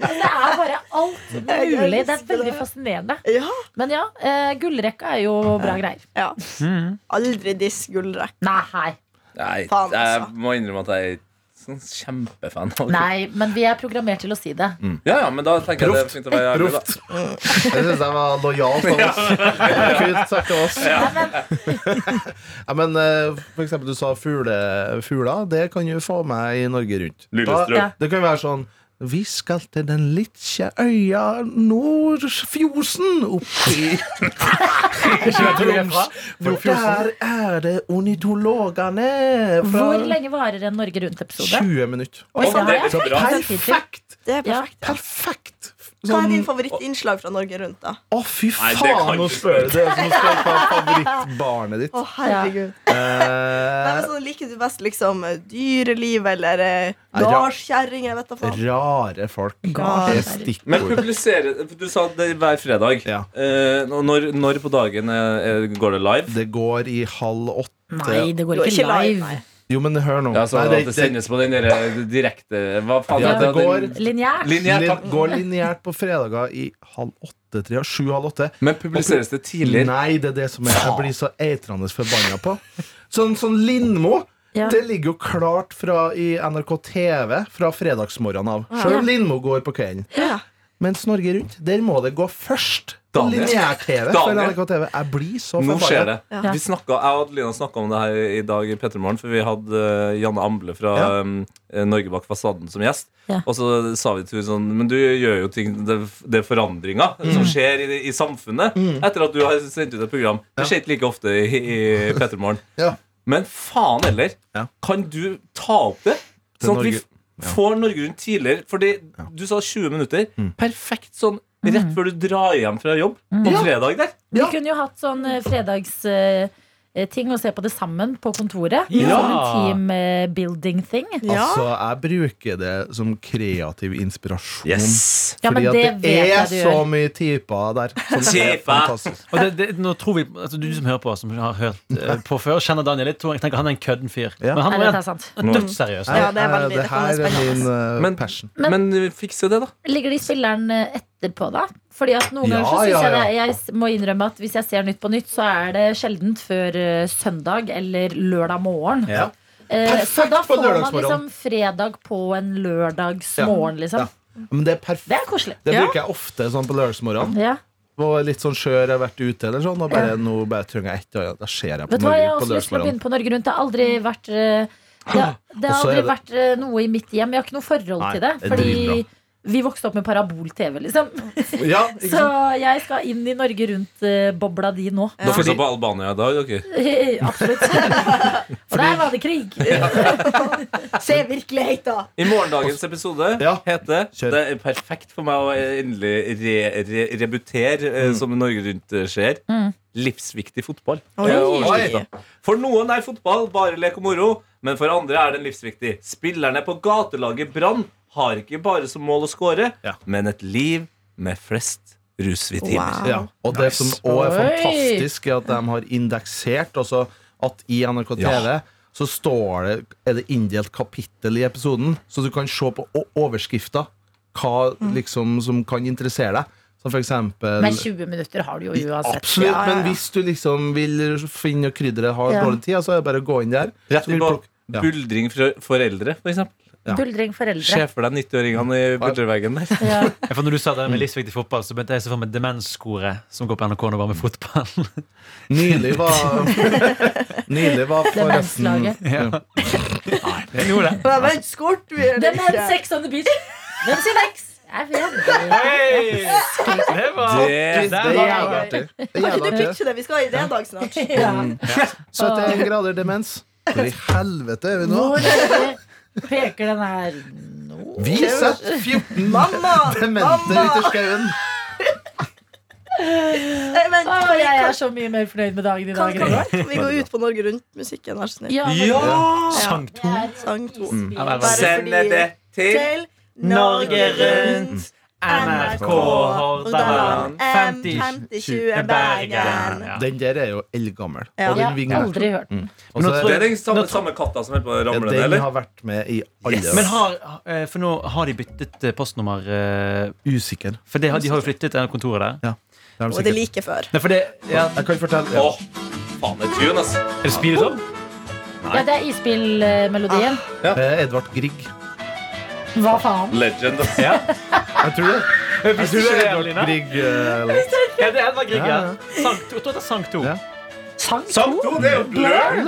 Speaker 3: Det er bare alt
Speaker 4: Jeg
Speaker 3: mulig. Det er
Speaker 4: elsker
Speaker 3: veldig
Speaker 4: det.
Speaker 3: fascinerende.
Speaker 4: ja.
Speaker 3: Men ja, eh, gullrekka er jo bra greier.
Speaker 4: ja. Mm. Aldri diss gullrekk.
Speaker 3: Nei, hei.
Speaker 6: Nei,
Speaker 4: Faen,
Speaker 6: jeg
Speaker 4: altså.
Speaker 6: må innrømme at jeg er sånn kjempefan. av det.
Speaker 3: Nei, men vi er programmert til å si det.
Speaker 6: Ja, ja, men da tenker jeg det er fint å være ærlig, da.
Speaker 5: Proft. Det syns jeg var lojalt av oss. Kult sagt av oss.
Speaker 3: Nei, men,
Speaker 5: Ja, men eh, for eksempel, du sa fugle, fugler. Det kan jo få meg i Norge Rundt.
Speaker 6: Lillestrøm.
Speaker 3: Ja.
Speaker 5: det kan jo være sånn vi skal til den lille øya Nordfjosen oppi Troms. For der er det ornitologene fra
Speaker 3: hvor lenge varer en Norge Rundt-episode?
Speaker 5: 20 minutter.
Speaker 3: Oi,
Speaker 6: Å,
Speaker 3: så har
Speaker 6: det
Speaker 3: jeg
Speaker 6: er så bra.
Speaker 3: faktisk litt tid til.
Speaker 5: Perfekt!
Speaker 4: Det er
Speaker 3: Ja.
Speaker 4: perfekt.
Speaker 5: Perfekt!
Speaker 4: Hva er din
Speaker 5: Sånn,
Speaker 4: favorittinnslag fra Norge Rundt, da?
Speaker 5: å, fy
Speaker 6: Nei, det kan
Speaker 5: faen,
Speaker 6: du
Speaker 5: nå spør du! Det er som å spørre hva er favorittbarnet ditt.
Speaker 4: Å, herregud. Nei, men
Speaker 5: Eh,
Speaker 4: sånn, liker du best liksom dyreliv eller eh,
Speaker 5: Nei, ja.
Speaker 4: gardskjerring? Jeg vet da faen.
Speaker 5: rare folk.
Speaker 3: Rare folk.
Speaker 5: Det er
Speaker 6: Men
Speaker 5: stikkord.
Speaker 6: publisere Du sa det er hver fredag.
Speaker 5: Ja.
Speaker 6: Eh, og når, når på dagen eh, eh, går det live?
Speaker 5: Det går i halv åtte.
Speaker 3: Nei, det går
Speaker 4: Jo,
Speaker 3: ikke
Speaker 4: ikke live,
Speaker 3: live.
Speaker 5: Jo, men hør nå.
Speaker 6: Ja, så
Speaker 5: Nei,
Speaker 6: at det sendes på den der eh, direkte Hva faen
Speaker 5: Ja,
Speaker 6: heter
Speaker 5: det går-
Speaker 6: Den-
Speaker 3: Lineært.
Speaker 6: Linjær,
Speaker 5: Lin-
Speaker 6: takk.
Speaker 5: går lineært på fredager i halv åtte, tre, sju, halv åtte.
Speaker 6: Men publiseres det tidligere?
Speaker 5: Nei, det er det som er Jeg blir så eitrende forbanna på. Sånn, sånn Lindmo.
Speaker 3: Ja.
Speaker 5: Det ligger jo klart fra i NRK TV fra fredagsmorgenen av. Sjøl Lindmo går på kvelden.
Speaker 4: Ja.
Speaker 5: Mens Norge Rundt, der må det gå først. På
Speaker 6: Daniel.
Speaker 5: Lineær-TV for
Speaker 6: Daniel.
Speaker 5: NRK TV. Jeg blir så
Speaker 6: Nå skjer
Speaker 5: forbanna.
Speaker 6: det. Vi snakket, jeg og Adelina snakka om det her i dag i Petremorgen, for vi hadde eh, Janne Amble fra
Speaker 5: Ja.
Speaker 6: eh, Norge bak fasaden som gjest.
Speaker 3: Ja.
Speaker 6: Og så sa vi til henne sånn Men du gjør jo ting Det, det er forandringer
Speaker 5: Mm.
Speaker 6: som skjer i, i samfunnet etter at du har sendt ut et program. Det skjer ikke like ofte i, i Petremorgen.
Speaker 5: Ja.
Speaker 6: Men faen heller,
Speaker 5: Ja.
Speaker 6: kan du ta opp det?
Speaker 5: Til
Speaker 6: Sånn at vi
Speaker 5: Norge-
Speaker 6: f- får Norge Rundt tidligere. Fordi du sa 20 minutter.
Speaker 5: Mm.
Speaker 6: Perfekt sånn
Speaker 3: Mm.
Speaker 6: rett før du drar hjem fra jobb på fredag der.
Speaker 3: Vi
Speaker 5: Ja.
Speaker 3: kunne jo hatt sånn fredagsting og se på det sammen på kontoret.
Speaker 2: Ja.
Speaker 3: Sånn team eh, building thing.
Speaker 4: Ja.
Speaker 5: Altså, jeg bruker det som kreativ inspirasjon.
Speaker 3: Ja,
Speaker 5: Fordi
Speaker 3: men
Speaker 5: at
Speaker 3: det
Speaker 5: det
Speaker 3: vet
Speaker 5: er
Speaker 3: jeg du
Speaker 5: så
Speaker 3: gjør.
Speaker 5: mye typer der. som er
Speaker 6: Typer.
Speaker 5: fantastisk.
Speaker 2: Og det, det, nå tror vi, altså Du som hører på, som har hørt eh, på før, kjenner Daniel litt. tror Jeg tenker han er en kødden fyr.
Speaker 5: Ja.
Speaker 2: Men
Speaker 3: Nei,
Speaker 2: han
Speaker 3: dette
Speaker 2: er
Speaker 3: er sant.
Speaker 2: en dødsseriøs.
Speaker 4: Ja, det er
Speaker 5: Her
Speaker 4: veldig- det kan
Speaker 5: her
Speaker 4: være
Speaker 5: er min eh,
Speaker 6: Men-
Speaker 5: passion.
Speaker 3: Men-
Speaker 6: Men, men fikse det, da.
Speaker 3: Ligger de spilleren eh, etterpå, da? Fordi at noen
Speaker 5: Ja,
Speaker 3: ganger så synes
Speaker 5: ja,
Speaker 3: jeg det
Speaker 5: ja.
Speaker 3: Jeg s- må innrømme at hvis jeg ser Nytt på Nytt, så er det sjeldent før eh, søndag eller lørdag morgen.
Speaker 5: Ja.
Speaker 3: Eh, så
Speaker 5: Perfekt
Speaker 3: da
Speaker 5: på
Speaker 3: får man
Speaker 5: lørdagsmorgen.
Speaker 3: liksom fredag på en lørdagsmorgen, liksom.
Speaker 5: Ja. Men det er perfekt.
Speaker 3: Det er koselig.
Speaker 5: Det
Speaker 4: Ja.
Speaker 5: bruker jeg ofte sånn på lørdagsmorgenen.
Speaker 3: Ja.
Speaker 5: Og litt sånn skjør jeg har vært ute eller sånn, og bare, nå bare trenger jeg ett. og ja, Da ser jeg på
Speaker 3: Vet du hva, jeg har
Speaker 5: Norge på
Speaker 3: også lyst til å
Speaker 5: lørdagsmorgenen.
Speaker 3: begynne på Norge Rundt. Det har aldri vært eh, Det har, det har
Speaker 5: Og så
Speaker 3: aldri
Speaker 5: er det-
Speaker 3: vært eh, noe i mitt hjem. Jeg har ikke noe forhold
Speaker 5: Nei,
Speaker 3: til det.
Speaker 5: det er
Speaker 3: Fordi
Speaker 5: dritbra.
Speaker 3: vi vokste opp med parabol-TV, liksom.
Speaker 5: Ja, ikke
Speaker 3: Så
Speaker 5: sant?
Speaker 3: jeg skal inn i Norge Rundt-bobla di nå.
Speaker 6: Dere så på Albania i dag, dere.
Speaker 3: Absolutt. Og der var det krig.
Speaker 4: Se virkeligheten!
Speaker 6: I morgendagens episode
Speaker 5: Ja.
Speaker 6: heter
Speaker 5: Kjør.
Speaker 6: Det er perfekt for meg å endelig re, re, rebutere, eh, som Norge Rundt eh, skjer. Livsviktig fotball.
Speaker 4: Oi.
Speaker 6: Eh, overskriften. For noen er fotball bare lek og moro, men for andre er den livsviktig. Spillerne på gatelaget Brann har ikke bare som mål å skåre,
Speaker 5: Ja.
Speaker 6: men et liv med flest rusfrie timer.
Speaker 4: Wow.
Speaker 5: Ja. Og det som òg er
Speaker 3: Oi.
Speaker 5: fantastisk, er at de har indeksert altså at i NRK TV så står det, er det inndelt kapittel i episoden, så du kan se på o- overskrifter hva liksom, som kan interessere deg. Som for eksempel
Speaker 3: Mm. Men 20 minutter har du jo uansett.
Speaker 5: Absolutt,
Speaker 3: Ja, ja, ja.
Speaker 5: men hvis du liksom vil finne og krydderet, har
Speaker 3: Ja.
Speaker 5: dårlig tid, så er det bare å gå inn der.
Speaker 6: Rett
Speaker 5: Så vil
Speaker 6: på
Speaker 5: plukke- ja.
Speaker 6: buldring for, for eldre, for eksempel.
Speaker 5: Ja.
Speaker 3: Buldring foreldre.
Speaker 6: Se for deg 90-åringene i buldreveggen der.
Speaker 3: Ja.
Speaker 2: Ja, For når du sa det med livsviktig fotball, så begynte jeg å se for meg demenskoret som går på NRK nå, bare med fotball.
Speaker 5: Nylig var Nylig var forresten
Speaker 3: Demenslaget.
Speaker 5: ja.
Speaker 2: Det er noe, det.
Speaker 4: Men vent, skålte vi eller
Speaker 3: Hvem hadde
Speaker 4: ikke?
Speaker 3: sex on the beach? Hvem sin ex? Jeg vet ikke.
Speaker 2: Det var
Speaker 6: Det-
Speaker 5: Det er
Speaker 2: Der var
Speaker 5: jævlig artig. Det er
Speaker 4: Kan ikke
Speaker 5: jævlig
Speaker 4: du
Speaker 5: artig.
Speaker 4: pitche det? Vi skal ha idédag snart.
Speaker 3: Ja.
Speaker 4: Mm.
Speaker 5: 71 grader demens. Hvor i helvete er vi nå?
Speaker 3: Hvor er det- peker den her nå?
Speaker 5: Vi setter 14
Speaker 4: Mamma!
Speaker 5: dementer
Speaker 4: Mamma!
Speaker 5: ut i skauen.
Speaker 4: Nei,
Speaker 3: Å,
Speaker 4: vent, kan vi,
Speaker 3: jeg er
Speaker 4: kan,
Speaker 3: så mye mer fornøyd med dagen i dag.
Speaker 4: kan, kan, kan vi gå ut på Norge Rundt-musikken, vær så snill?
Speaker 3: Ja! men-
Speaker 6: Ja!
Speaker 2: Sankt
Speaker 3: Det er Mm.
Speaker 4: Sang to.
Speaker 3: isbjørn.
Speaker 2: Eller-
Speaker 4: Bare
Speaker 6: Send
Speaker 4: fordi-
Speaker 6: det til
Speaker 4: Til
Speaker 2: Norge Rundt, NRK Hordaland, 50
Speaker 4: 50-20 Bergen.
Speaker 2: Bergen.
Speaker 5: Den der er jo eldgammel.
Speaker 4: Ja.
Speaker 3: Jeg
Speaker 5: Og den
Speaker 3: har
Speaker 5: vingler.
Speaker 3: aldri hørt den.
Speaker 5: Og
Speaker 2: nå
Speaker 5: så
Speaker 2: tror
Speaker 5: er
Speaker 6: Det er den samme, samme katta som holder på å ramle ned,
Speaker 5: den
Speaker 6: eller?
Speaker 5: har vært med i alle
Speaker 2: Men har, eh, for nå har de byttet eh, postnummer eh,
Speaker 5: Usikker.
Speaker 2: For det, har- de har jo flyttet eh, kontoret der.
Speaker 5: Det er de
Speaker 4: Og det er
Speaker 5: sikkert.
Speaker 4: like før.
Speaker 2: Nei, for det, ja,
Speaker 5: Jeg kan fortelle ja.
Speaker 6: Åh, faen, det er tune, ass.
Speaker 2: er det speedet opp?
Speaker 3: Ja, det er isbilmelodien.
Speaker 5: Eh, Edvard Grieg.
Speaker 3: Hva faen?
Speaker 6: Legend. ass.
Speaker 2: Ja.
Speaker 5: Jeg tror det. Jeg tror det er
Speaker 2: Adelina?
Speaker 5: Edvard Grieg. eh,
Speaker 2: Ja, det er Edvard Grieg,
Speaker 5: Ja,
Speaker 2: ja.
Speaker 5: ja.
Speaker 2: Sankt, jeg tror det er Sankt 2.
Speaker 5: Ja.
Speaker 3: Sang
Speaker 2: Sankt 2, det er jo blør!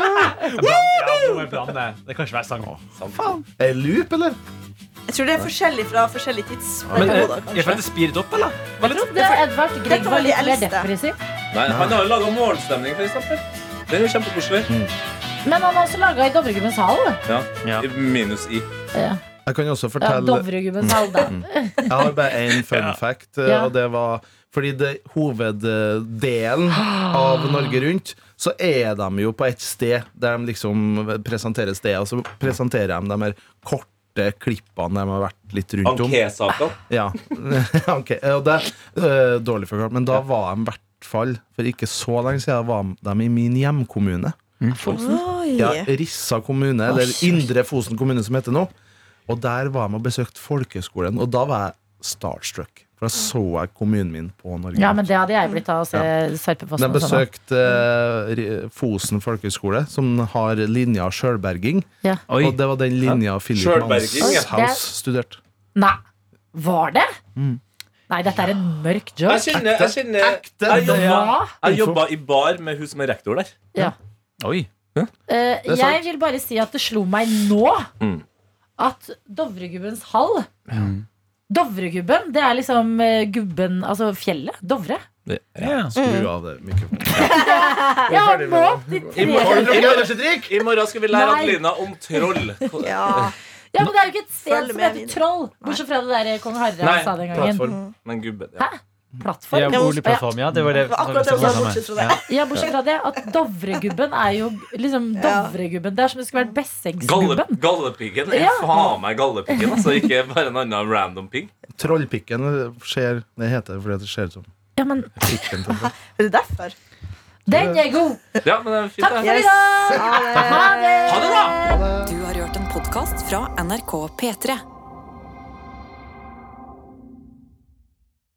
Speaker 2: Det kan ikke være sang.
Speaker 5: Er det loop, eller?
Speaker 4: Jeg tror det er forskjellig fra forskjellige
Speaker 2: Men eh,
Speaker 4: tidsperioder.
Speaker 2: jeg
Speaker 4: kanskje.
Speaker 2: følte speedet opp, eller? Var litt-
Speaker 3: Det er Edvard Grieg
Speaker 4: Dette
Speaker 3: var
Speaker 4: var de
Speaker 3: litt mer
Speaker 4: eldste.
Speaker 3: depressiv.
Speaker 6: Nei, han har jo laget morgenstemning, for eksempel. Det er jo kjempekoselig.
Speaker 3: Men han har også laga i Dovregubbens hall.
Speaker 6: Ja.
Speaker 2: Ja.
Speaker 6: Minus i.
Speaker 3: Ja.
Speaker 5: Jeg kan også
Speaker 3: Ja,
Speaker 5: fortelle
Speaker 3: Dovregubbens halda.
Speaker 5: Jeg har bare én fun fact, eh,
Speaker 3: Ja.
Speaker 5: og det var fordi det hoveddelen av Norge Rundt, så er de jo på et sted der de liksom presenterer stedet, og så presenterer de de her korte klippene de har vært litt rundt om.
Speaker 6: Anké-saken.
Speaker 5: Ja. ok, og det øh, Dårlig forklart, men da var de i hvert fall, for ikke så lenge siden, var de i min hjemkommune.
Speaker 4: Oi.
Speaker 5: Ja, Rissa kommune, eller Indre Fosen kommune som heter nå. Og der var jeg med og besøkte folkeskolen, og da var jeg starstruck. For da så jeg kommunen min på Norge.
Speaker 3: Ja, men det hadde jeg blitt av å se Sarpefossen.
Speaker 5: de
Speaker 3: og sånn.
Speaker 5: besøkte eh, Ri- Fosen folkehøgskole, som har linja sjølberging.
Speaker 3: Ja.
Speaker 2: Oi.
Speaker 5: Og det var den linja Philip
Speaker 6: Sjølberging, ja.
Speaker 5: Manshaus studerte.
Speaker 3: Nei, var det? Nei, dette er en mørk
Speaker 6: Jeg
Speaker 3: joke.
Speaker 6: kjenner, jeg kjenner
Speaker 5: Ekte.
Speaker 6: Jeg jobba,
Speaker 3: Hva?
Speaker 6: jeg jobba i bar med hun som er rektor der.
Speaker 3: Ja.
Speaker 2: Oi.
Speaker 3: Eh,
Speaker 5: er sant.
Speaker 3: jeg vil bare si at det slo meg nå
Speaker 6: Mm.
Speaker 3: at Dovregubbens hall Dovregubben, det er liksom eh, gubben Altså fjellet. Dovre.
Speaker 2: Ja.
Speaker 3: Mm.
Speaker 5: Skru av det mikrofonen.
Speaker 3: Ja, må opp de
Speaker 6: I
Speaker 3: tre
Speaker 6: morgen,
Speaker 5: Har du drukket energidrikk?
Speaker 6: I morgen skal vi lære
Speaker 3: Nei.
Speaker 6: Adelina om troll.
Speaker 4: Ja.
Speaker 3: Ja, men det er jo ikke et sted
Speaker 4: Følg
Speaker 3: som
Speaker 4: med
Speaker 3: heter
Speaker 4: videre.
Speaker 3: Troll. Bortsett fra det der eh, kong Harald
Speaker 6: Nei,
Speaker 3: sa den gangen.
Speaker 5: Plattform.
Speaker 6: Men gubben
Speaker 3: Hæ?
Speaker 6: ja.
Speaker 3: Plattform.
Speaker 2: Ja, boligplattform, ja. Det var det
Speaker 4: Det var akkurat det jeg sa, bortsett fra det.
Speaker 3: Ja, bortsett fra det at Dovregubben er jo liksom Dovregubben. Det er som det skulle vært
Speaker 6: Galle,
Speaker 3: Besseggsgubben.
Speaker 6: gallepiggen er
Speaker 3: Ja.
Speaker 6: faen meg gallepiggen. Altså ikke bare en annen random pigg.
Speaker 5: Trollpikken ser Det heter det fordi at det ser ut som
Speaker 3: Ja, men
Speaker 5: pikken til en troll.
Speaker 4: Er det derfor?
Speaker 3: den er god!
Speaker 6: Ja, men det er fint,
Speaker 3: Takk
Speaker 6: det.
Speaker 3: for i dag!
Speaker 4: Ha det.
Speaker 3: Ha det!
Speaker 6: Ha det, da!
Speaker 1: Du har hørt en podkast fra NRK P3.